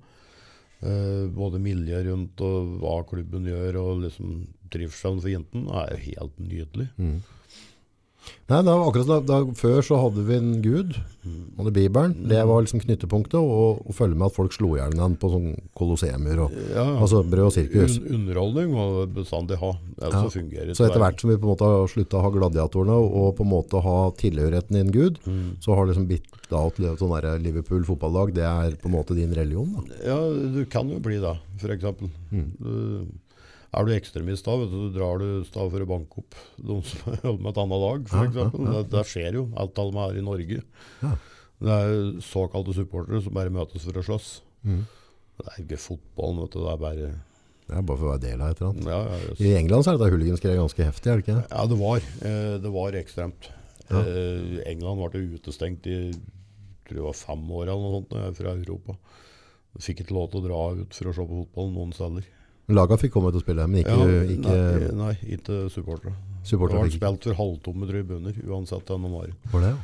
B: Eh, både miljøet rundt og hva klubben gjør, og liksom trivselen for jentene er jo helt nydelig.
A: Mm. Nei, det var akkurat da, da, Før så hadde vi en gud, hadde Bibelen. Det var liksom knyttepunktet, og, og følge med at folk slo i hjel den på sånn kolosseumer. Og,
B: Ja, Mm.
A: Altså brød og sirkus.
B: un underholdning må vi bestandig ha, ellers
A: Ja.
B: så fungerer
A: Så etter
B: verden.
A: hvert som vi på en måte har slutta å ha gladiatorene, og på en måte ha tilhørigheten i en gud,
B: Mm.
A: så har liksom bitt av til et sånn der Liverpool fotballag. Det er på en måte din religion, da.
B: Ja, du kan jo bli det, f.eks.
A: Mm.
B: Du, er du ekstremist da, vet du, så drar du stav for å banke opp de som *laughs* holder med et annet lag,
A: Ja,
B: f.eks. eksempel. Det, det skjer jo. Alt av dem er i Norge.
A: Ja.
B: Det er jo såkalte supportere som bare møtes for å slåss.
A: Mm.
B: Det er jo ikke fotballen, vet du. Det er bare
A: Det er bare for å være del av et eller annet.
B: Ja, ja, jøss.
A: I England så er dette hooligansgreiet ganske heftig, er det ikke? det?
B: ja det var. Eh, det var ekstremt.
A: Ja.
B: Eh, England ble jo utestengt i tror jeg var fem år eller noe sånt eh, fra Europa. Fikk ikke lov til å dra ut for å se på fotball noen steder.
A: Laga fikk komme til å spille, men ikke,
B: Ja, nei,
A: ikke
B: nei, ikke supportere. Det
A: supportere.
B: var
A: fikk-
B: spilt for halvtomme tribuner uansett hvem de var.
A: Var det, ja.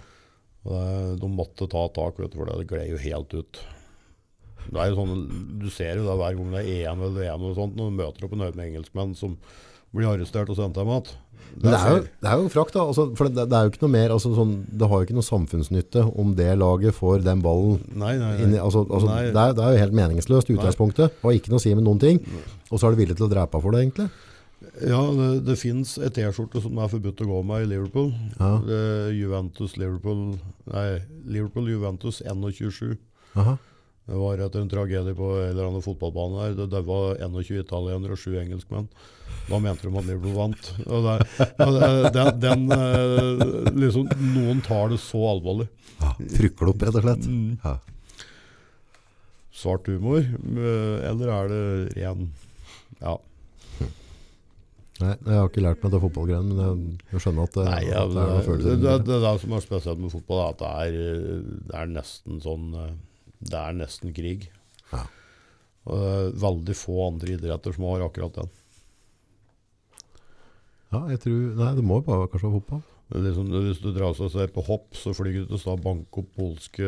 B: Og det- De måtte ta tak, vet du, for det gled jo helt ut. Det er jo sånne, du ser jo det hver gang det er EM eller VM og sånt, når du møter opp en haug med engelskmenn som blir arrestert og sendt hjem igjen.
A: Men det er, jo, det er jo frakt da, altså, for det, det er jo ikke noe mer, altså, sånn, det har jo ikke noe samfunnsnytte om det laget får den ballen.
B: Nei, nei,
A: Inni,
B: nei.
A: altså, altså,
B: Nei.
A: det, er, det er jo helt meningsløst i utgangspunktet, og ikke noe å si med noen ting, og så er du villig til å drepe for det egentlig.
B: Ja, det, det fins ei T-skjorte som er forbudt å gå med i Liverpool.
A: Ja.
B: Det er Juventus, Liverpool Nei, Liverpool, Juventus 1.27.
A: Aha.
B: Det var etter en tragedie på en eller annen fotballbane her. Det daua 21 italienere og 7 engelskmenn. Da mente de at Liverpool vant. Og det, og det, den, den, eh, liksom, noen tar det så alvorlig.
A: Ja, frykkel opp rett og
B: Mm.
A: slett. Ja.
B: Svart humor, eh, eller er det ren Ja.
A: Nei, jeg har ikke lært meg det fotballgreien, men jeg, jeg skjønner at det,
B: Nei, ja,
A: at
B: det,
A: det er noen
B: det, det,
A: følelser.
B: det,
A: rundt det.
B: er det som er spesielt med fotball, er at det er, eh, det er nesten sånn eh, Det er nesten krig.
A: Ja.
B: Og det er veldig få andre idretter som har akkurat den.
A: Ja, jeg tror, nei, det må jo bare kanskje være fotball.
B: Det er Liksom, hvis du drar seg og ser på hopp, så flyr du til å banke opp polske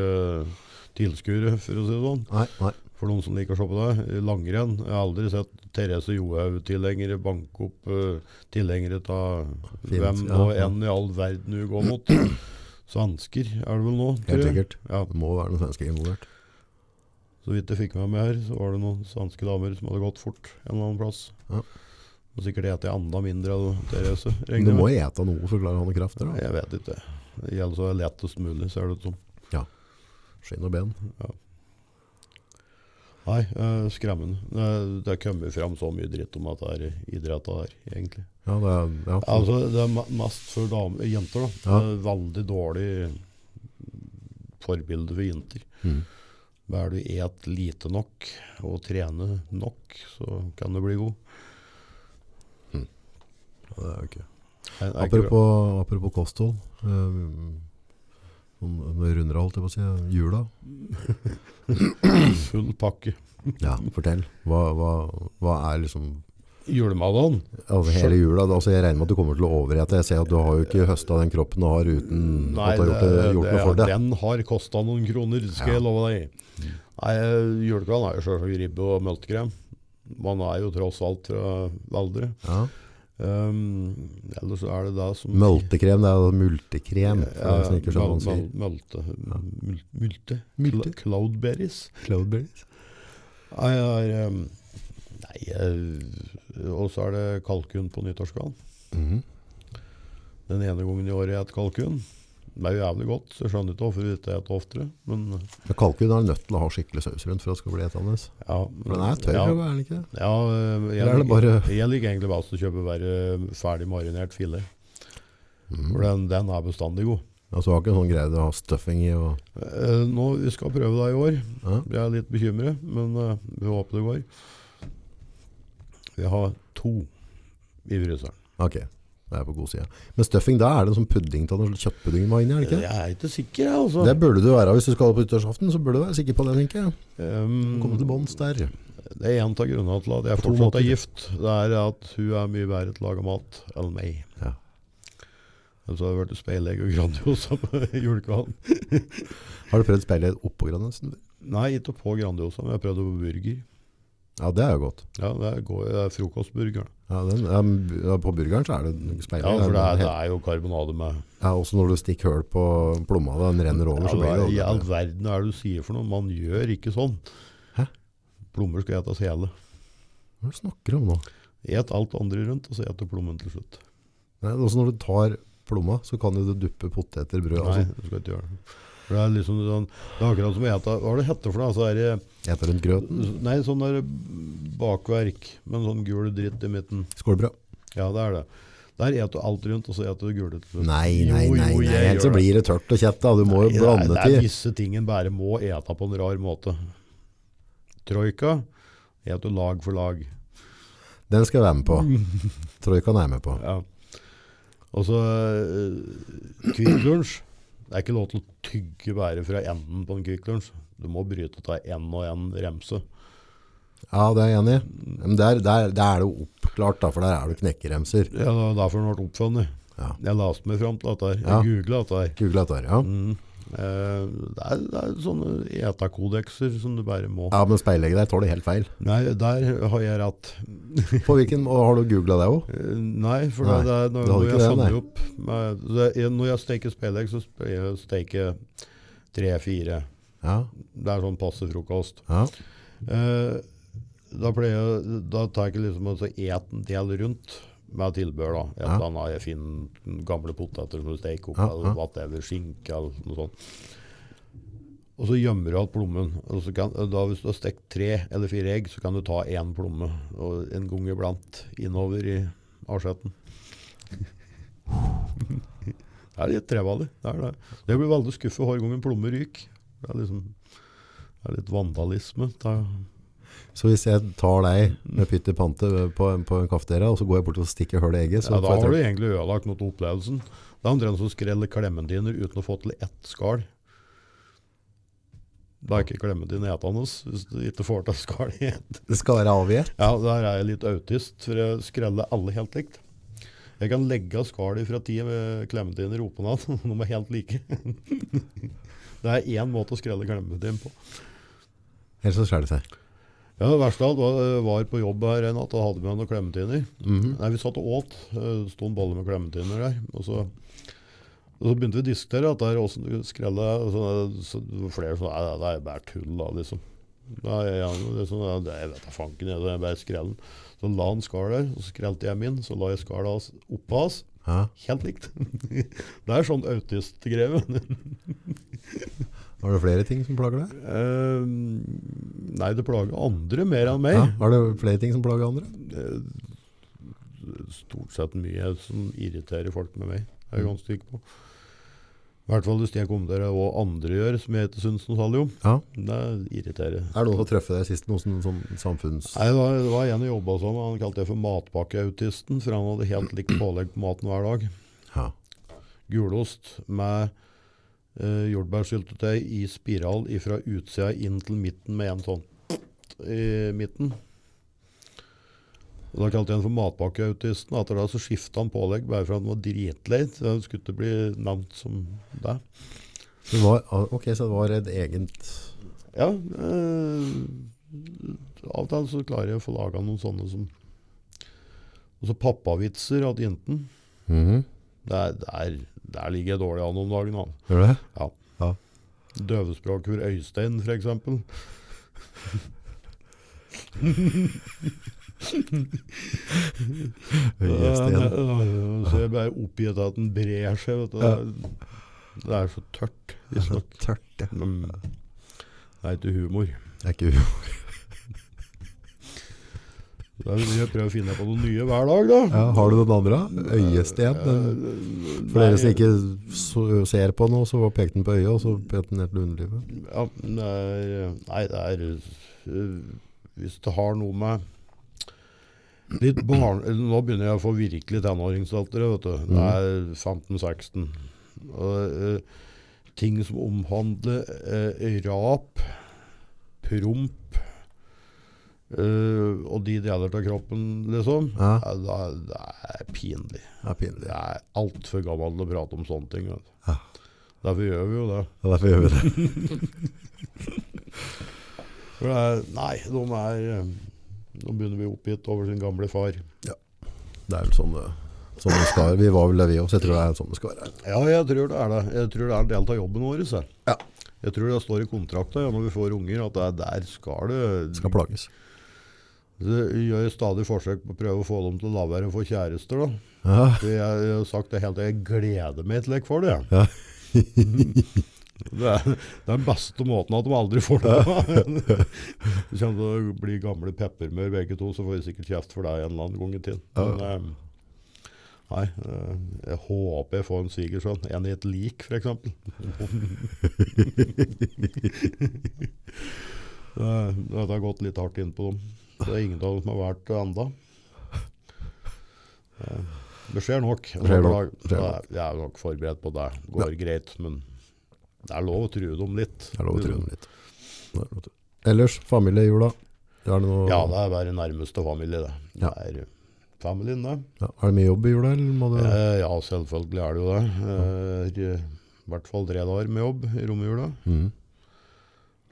B: tilskuere, for å si det sånn.
A: Nei, nei.
B: For noen som liker å se på det. Langrenn. Jeg har aldri sett Therese Johaug-tilhengere banke opp eh, tilhengere av
A: Fint,
B: hvem
A: ja,
B: og
A: ja.
B: enn i all verden hun går mot. Svensker er det vel nå, tror
A: Helt
B: jeg.
A: sikkert.
B: Ja.
A: Det må være noen svensker involvert.
B: Så vidt jeg fikk med meg her, så var det noen svenske damer som hadde gått fort en eller annen plass.
A: Ja.
B: Og sikkert ete enda mindre av Therese.
A: Men du
B: jeg
A: må
B: med.
A: jo ete noe for å klare å ha noe kraft der.
B: Nei,
A: Da.
B: Jeg vet ikke. Det gjelder så lettest mulig, ser det ut som.
A: Skinn og ben.
B: Nei, eh, skremmende. Eh, Det har kommet fram så mye dritt om at det er idretten her, egentlig.
A: Ja, det er, ja.
B: Altså, det er ma- mest for dame, jenter, da.
A: Ja.
B: Det er veldig dårlig forbilde for jenter.
A: Mm.
B: Bare du et lite nok og trene nok, så kan du bli god.
A: Ja, det er jo ikke.
B: Nei, det er ikke bra.
A: Apropos, apropos kosthold. Um, om om det runder alt, jeg må si. Jula.
B: Full pakke.
A: Ja, fortell. Hva, hva, hva er liksom
B: Julemiddagen?
A: altså, hele jula? da, Altså, jeg regner med at du kommer til å overete. Jeg ser at du har jo ikke høsta den kroppen du har uten Mm, at du har gjort, det, gjort noe for det.
B: den har kosta noen kroner,
A: Ja.
B: skal jeg love deg. Nei, eh, Julekvelden er jo selvsagt ribbe og multekrem. Man er jo tross alt eh, fra Valdre.
A: Ja.
B: Um, ellers så er det det som
A: Multekrem, det er jo multekrem. for
B: Ja,
A: de som ikke skjønner hva man
B: mul-
A: sier.
B: mul- multe, mul- multe,
A: Multe?
B: Cla- cloudberries.
A: Cloudberries?
B: Nei, jeg har, um, nei eh, og så er det kalkun på nyttårskvelden.
A: Mhm.
B: Den ene gangen i året jeg spiser kalkun. Det er jo jævlig godt, så jeg skjønner ikke hvorfor jeg ikke spiser oftere. Men
A: Men kalkun er nødt til å ha skikkelig saus rundt for at det skal bli etende.
B: ja.
A: For den er tørr,
B: ja,
A: er den ikke det?
B: ja, eh, jeg,
A: Eller er det
B: liker-
A: bare-
B: jeg liker egentlig best å kjøpe bare ferdig marinert filet. For den, den er bestandig god.
A: Mhm. Altså, du har ikke en sånn greie du har stuffing i og
B: Eh, Nå, Vi skal prøve det i år.
A: ja.
B: Jeg er litt bekymret, men eh, vi håper det går. Vi har to i fryseren.
A: Ok, det er på god side. Men stuffing, da er det en sånn pudding til noe kjøttpudding med inni, er det ikke det?
B: Jeg er ikke sikker, jeg, altså.
A: Det burde du være hvis du skal på nyttårsaften, så burde du være sikker på det, tenker jeg.
B: Ehm,
A: Komme til bånds der.
B: det er en av grunnene til at jeg
A: På to
B: fortsatt
A: måter.
B: er gift. Det er at hun er mye bedre til å lage mat enn meg.
A: Ja.
B: Så har jeg vært speilegg og Grandiosa på *laughs* julekvelden.
A: Har du prøvd speilet oppå Granesen?
B: Nei, ikke på Grandiosa, men jeg prøvde på burger.
A: Ja, det er jo godt.
B: Ja, det er, går, det er frokostburgeren.
A: Ja, den, ja, men, ja, på burgeren så er det speilet.
B: Ja, for det er, det
A: helt-
B: er jo karbonade med
A: ja, også når du stikker høl på plomma, den renner over, så
B: Ja,
A: blir
B: hva
A: det
B: i
A: jo
B: all verden er det du sier for noe? Man gjør ikke sånn.
A: Hæ?
B: Plommer skal etes hele.
A: Hva er det du snakker om nå?
B: Et alt andre rundt, og så eter plommen til slutt.
A: Nei, også når du tar plomma, så kan jo du duppe poteter, brød,
B: Nei,
A: altså,
B: du skal ikke gjøre det. For det er liksom sånn, det er akkurat som å ete Hva er det hette for noe? Altså, er det,
A: eter rundt grøten,
B: nei, sånn der bakverk med en sånn gul dritt i midten.
A: skålbrød.
B: Ja, det er det. Der eter du alt rundt, og så eter du gule til slutt.
A: Nei, nei,
B: Jo,
A: nei,
B: jo,
A: nei,
B: jeg
A: ellers så
B: gjør det.
A: blir det tørt og kjett, da. Du må
B: Nei,
A: jo blande
B: det er- Det er
A: til.
B: visse ting en bare må ete på en rar måte. Troika eter du lag for lag.
A: Den skal jeg være med på.
B: Mm.
A: *laughs* Troikaen er jeg med på.
B: Ja. Og så eh, Kvikk Lunsj. Det er ikke lov til å tygge bæret fra enden på en Kvikk Lunsj. Du må bryte av en og en remse.
A: Ja, det er jeg enig i. Men der, der, der er det jo oppklart, da, for der er det jo knekkeremser.
B: Ja, det var derfor den ble oppfunnet.
A: Ja.
B: Jeg laste meg fram til dette her. Jeg
A: Ja.
B: googla dette her.
A: Googlet dette her, ja.
B: Mm. Eh, det, er, det er sånne etakodekser som du bare må.
A: Ja, men speilegget der tar det helt feil. *laughs*
B: Nei, der har jeg rett. *laughs*
A: På hvilken, og har du googlet det også?
B: Eh, Nei, for
A: Nei,
B: det er når,
A: du hadde
B: når
A: ikke
B: jeg
A: det, nei.
B: samler opp med, det, er- Når jeg steker spelegg, så spe- jeg steker jeg tre-fire.
A: Ja,
B: Det er sånn passe frokost.
A: ja.
B: Eh, da pleier jeg, da tar jeg ikke liksom altså et en del rundt med tilbør da. Et
A: Ja.
B: eller annet, jeg finner gamle poteter som du steker opp,
A: Ja, ja.
B: eller whatever, skinke eller noe sånt. Og så gjemmer du alt plommen. Og så kan, da hvis du har stekt tre eller fire egg, så kan du ta én plomme og en gang iblant innover i avsetten. det er litt trevallig. Det, er det. det blir veldig skuffet hver gang en plomme ryker. Det er liksom det er litt vandalisme. Det er
A: Så hvis jeg tar deg med pytt i pante på, på en kafeteria, og så går jeg bort og stikker høl i egget, så
B: Ja, da
A: får jeg
B: har du
A: tro-
B: egentlig ødelagt noe av opplevelsen. Det er omtrent som å skrelle klementiner uten å få til ett skall. Da er ikke klementin etende hvis du ikke får til skall i ett.
A: det skal være avgjert.
B: Ja, der er jeg litt autist, for jeg skreller alle helt likt. Jeg kan legge av skallet fra ti eh, klementiner oppå *laughs* hverandre. De er helt like. Det er én måte å skrelle klementin på.
A: Ellers så skjærer det seg.
B: Ja, Det verste av alt var, var på jobb her en natt. Da hadde vi med noen klementiner. Nei, Vi satt og åt. eh, Det sto en bolle med klementiner der. Og så, og så begynte vi å diskutere at der åssen du skrella og sånne- så det var Flere sånn Nei, det er bare tull, da, liksom. Nei, ja, det er sånn, ja, det, jeg vet da fanken, jeg, det er bare skrellen. Så la han skall der, og så skrelte jeg min. Så la jeg skallet hans oppå hans.
A: Ja.
B: Helt likt. *laughs* Det er sånn autistgreie.
A: Har du flere ting som plager deg?
B: Eh, nei, det plager andre mer enn meg.
A: Ja. Har du flere ting som plager andre?
B: det er stort sett mye som irriterer folk med meg. Jeg er ganske sikker på. I hvert fall hvis jeg kommenterer hva andre gjør, som jeg ikke syns noe særlig om.
A: Ja.
B: Det irriterer.
A: Er det noen som treffer deg sist? Noe sånn, sånn samfunns...
B: Nei, det var, det var en jeg jobba sammen med. Han kalte det for matpakkeautisten, for han hadde helt likt pålegg på maten hver dag.
A: Ja.
B: Gulost med eh, jordbærsyltetøy i spiral fra utsida inn til midten med en sånn i midten. Og Da kalte jeg han for matpakkeautisten. Etter det så skifta han pålegg bare for at han var dritlei. Så han skulle ikke bli nevnt som det.
A: Det var, ok, så det var et egent
B: Ja, eh, av og til så klarer jeg å få laga noen sånne som Og så pappavitser at jenten.
A: Mhm.
B: Der, der, der ligger jeg dårlig an om dagen. Han.
A: Gjør du det?
B: Ja.
A: Ja.
B: Døvespråk for Øystein, f.eks.
A: Øyesten.
B: Så jeg ble oppgitt av at den brer seg. Vet du.
A: Ja.
B: Det er så tørt. visstnok.
A: Tørt, ja.
B: Men Det er ikke humor.
A: Det er ikke u...
B: Det er vi prøver å finne på noe nye hver dag, da.
A: Ja, har du den andre? Øyesten? Den, for dere som ikke så- ser på noe, så pekte den på øyet, og så pekte den ned til underlivet.
B: Ja, men det er, nei, det er øh, Hvis det har noe med litt barn... eller Nå begynner jeg å få virkelig tenåringsdatter. vet du.
A: Mm.
B: Det er 15-16. Og, øh, ting som omhandler øh, rap, promp øh, og de deler av kroppen, liksom.
A: Ja.
B: eh, Det, er, det er pinlig.
A: Det er pinlig.
B: Det er altfor gammel til å prate om sånne ting. Vet du.
A: Ja.
B: Derfor gjør vi jo det.
A: Ja, derfor gjør vi det. *laughs*
B: For det er, nei, de er eh, Nå begynner vi oppgitt over sin gamle far.
A: Det er vel sånn det, sånn det skal være. Vi var vel det vi også, så jeg tror det er sånn det skal være.
B: Ja, jeg tror det er det. Jeg tror det er en del av jobben vår. Så.
A: Ja.
B: Jeg tror det står i kontrakta ja, når vi får unger, at det er der skal
A: Det
B: det
A: skal plages.
B: Det gjør stadig forsøk på å prøve å få dem til å la være å få kjærester. da.
A: Ja.
B: For jeg, jeg har sagt det helt til jeg gleder meg til jeg får det. jeg.
A: Ja.
B: Det er, det er den beste måten at de aldri får det.
A: *laughs*
B: på. Du kommer til å bli gamle peppermør begge to, så får vi sikkert kjeft for deg en eller annen gang i tiden. Men, eh, Nei, eh, jeg håper jeg får en svigersønn. En i et lik, f.eks.
A: *laughs*
B: Dette har gått litt hardt inn på dem. Det er ingen av dem som har valgt det enda. Eh, Det skjer nok.
A: Det skjer nok. Det skjer
B: Nei, Jeg er nok forberedt på det. Det går greit, men det er lov å true dem litt.
A: Det er lov å tro dem litt. Det er lov å tro. Ellers, familie i jula. Er det, noe,
B: Ja, det er bare nærmeste familie, det.
A: Ja.
B: Det er eh, familien, det.
A: Ja, er det mye jobb i jula, eller må du
B: Eh, ja, selvfølgelig er det jo det. Eh, I hvert fall tre dager med jobb i romjula.
A: Mhm.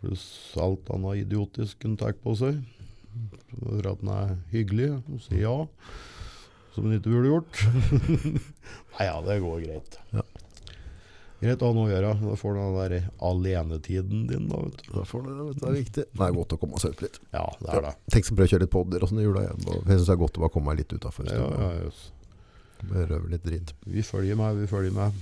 B: Pluss alt annet idiotisk en tar på seg. For at den er hyggelig og sier ja. Som den ikke burde gjort. *laughs* Nei ja, det går greit.
A: Ja.
B: Greit å ha noe å gjøre. Da får du den der alenetiden din, da. vet du.
A: Da får du det, vet du, det er viktig. Det er godt å komme seg ut litt.
B: Ja, det er det.
A: Tenk så prøve å kjøre litt podder og sånn i jula igjen. og Jeg synes det er godt å bare komme meg litt utenfor.
B: Ja, ja, jøss.
A: Røve litt dritt.
B: Vi følger med, vi følger med.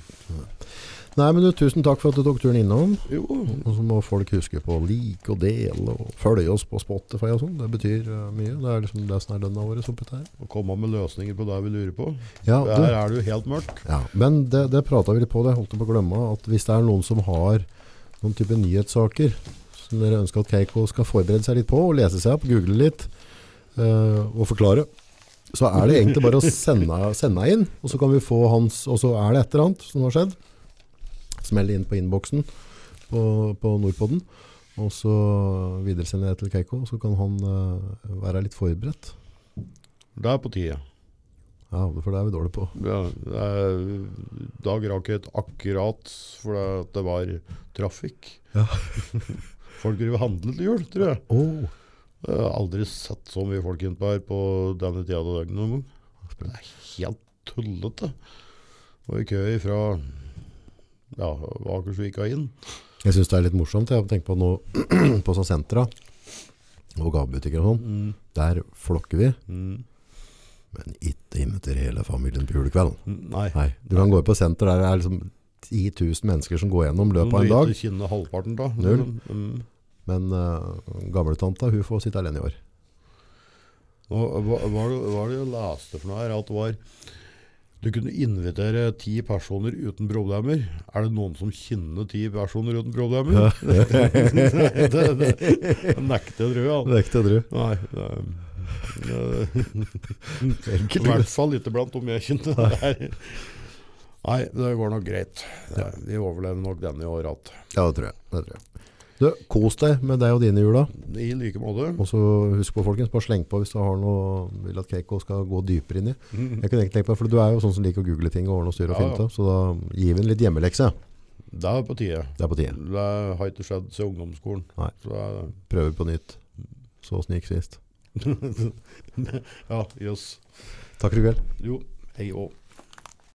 A: Nei, men du, tusen takk for at du tok turen innom.
B: Jo,
A: Og så må folk huske på å like og dele og følge oss på Spotify og sånn. Det betyr eh, mye. Det er liksom det som er lønna vår oppe her.
B: å komme med løsninger på det vi lurer på.
A: Ja, du,
B: Her er det jo helt mørkt.
A: Ja, men det, det prata vi litt på, det holdt jeg på å glemme. At hvis det er noen som har noen type nyhetssaker som dere ønsker at Keiko skal forberede seg litt på, og lese seg opp, google litt eh, og forklare, så er det egentlig bare å sende, sende inn, og så kan vi få hans Og så er det et eller annet som har skjedd. Smell inn på innboksen på, på Nordpodden. Og så videresender jeg til Keiko, så kan han eh, være litt forberedt.
B: Det er på tide.
A: Ja, for det er vi dårlige på.
B: Ja, det er, dag rakk jeg et akkurat fordi det var trafikk.
A: Ja.
B: *laughs* Folk driver og handler til jul, tror jeg.
A: Oh,
B: Jeg har aldri sett så mye folk innpå her på denne tida av dagen noen gang. Det er helt tullete. Og i kø fra ja, Akersvika inn.
A: jeg synes det er litt morsomt. Jeg tenker på nå *clears throat* på sånn sentra og gavebutikker og sånn.
B: Mm.
A: Der flokker vi,
B: Mm.
A: men ikke inviterer hele familien på julekvelden.
B: Nei.
A: Nei, du kan gå på senter der det er liksom 10 000 mennesker som går gjennom løpet av en dag.
B: Du kjenner halvparten da.
A: Null.
B: Mm.
A: Men uh, gamletanta, hun får sitte alene i *laughs* år.
B: Nå, hva, hva, er det- hva er det jeg leste for noe her? At det var du kunne invitere ti personer uten problemer. Er det noen som kjenner ti personer uten
A: *laughs*
B: problemer? *laughs* det, det, det nekter jeg, tror jeg.
A: er ikke det, du.
B: Nei, det, det, I
A: Enkelt.
B: hvert fall ikke blant om jeg kjente det her. Nei, det går nok greit. Det- Vi overlever nok denne i år alt.
A: Ja, det tror jeg. Det tror jeg. Du, kos deg med deg og dine jula.
B: I like måte.
A: Og så husk på, folkens, bare sleng på hvis du har noe, vil at Keiko skal gå dypere inn i. Jeg kunne egentlig tenkt på, for du er jo sånn som liker å google ting og ordne og styre og
B: Ja,
A: finne ut av, så da gir vi en litt hjemmelekse.
B: Det er på tide.
A: Det er på tide.
B: Det har ikke skjedd siden ungdomsskolen.
A: Nei.
B: Så det er
A: Prøver på nytt. Så snik sist.
B: *laughs* ja, jøss.
A: Takk for i kveld.
B: Jo, hei òg.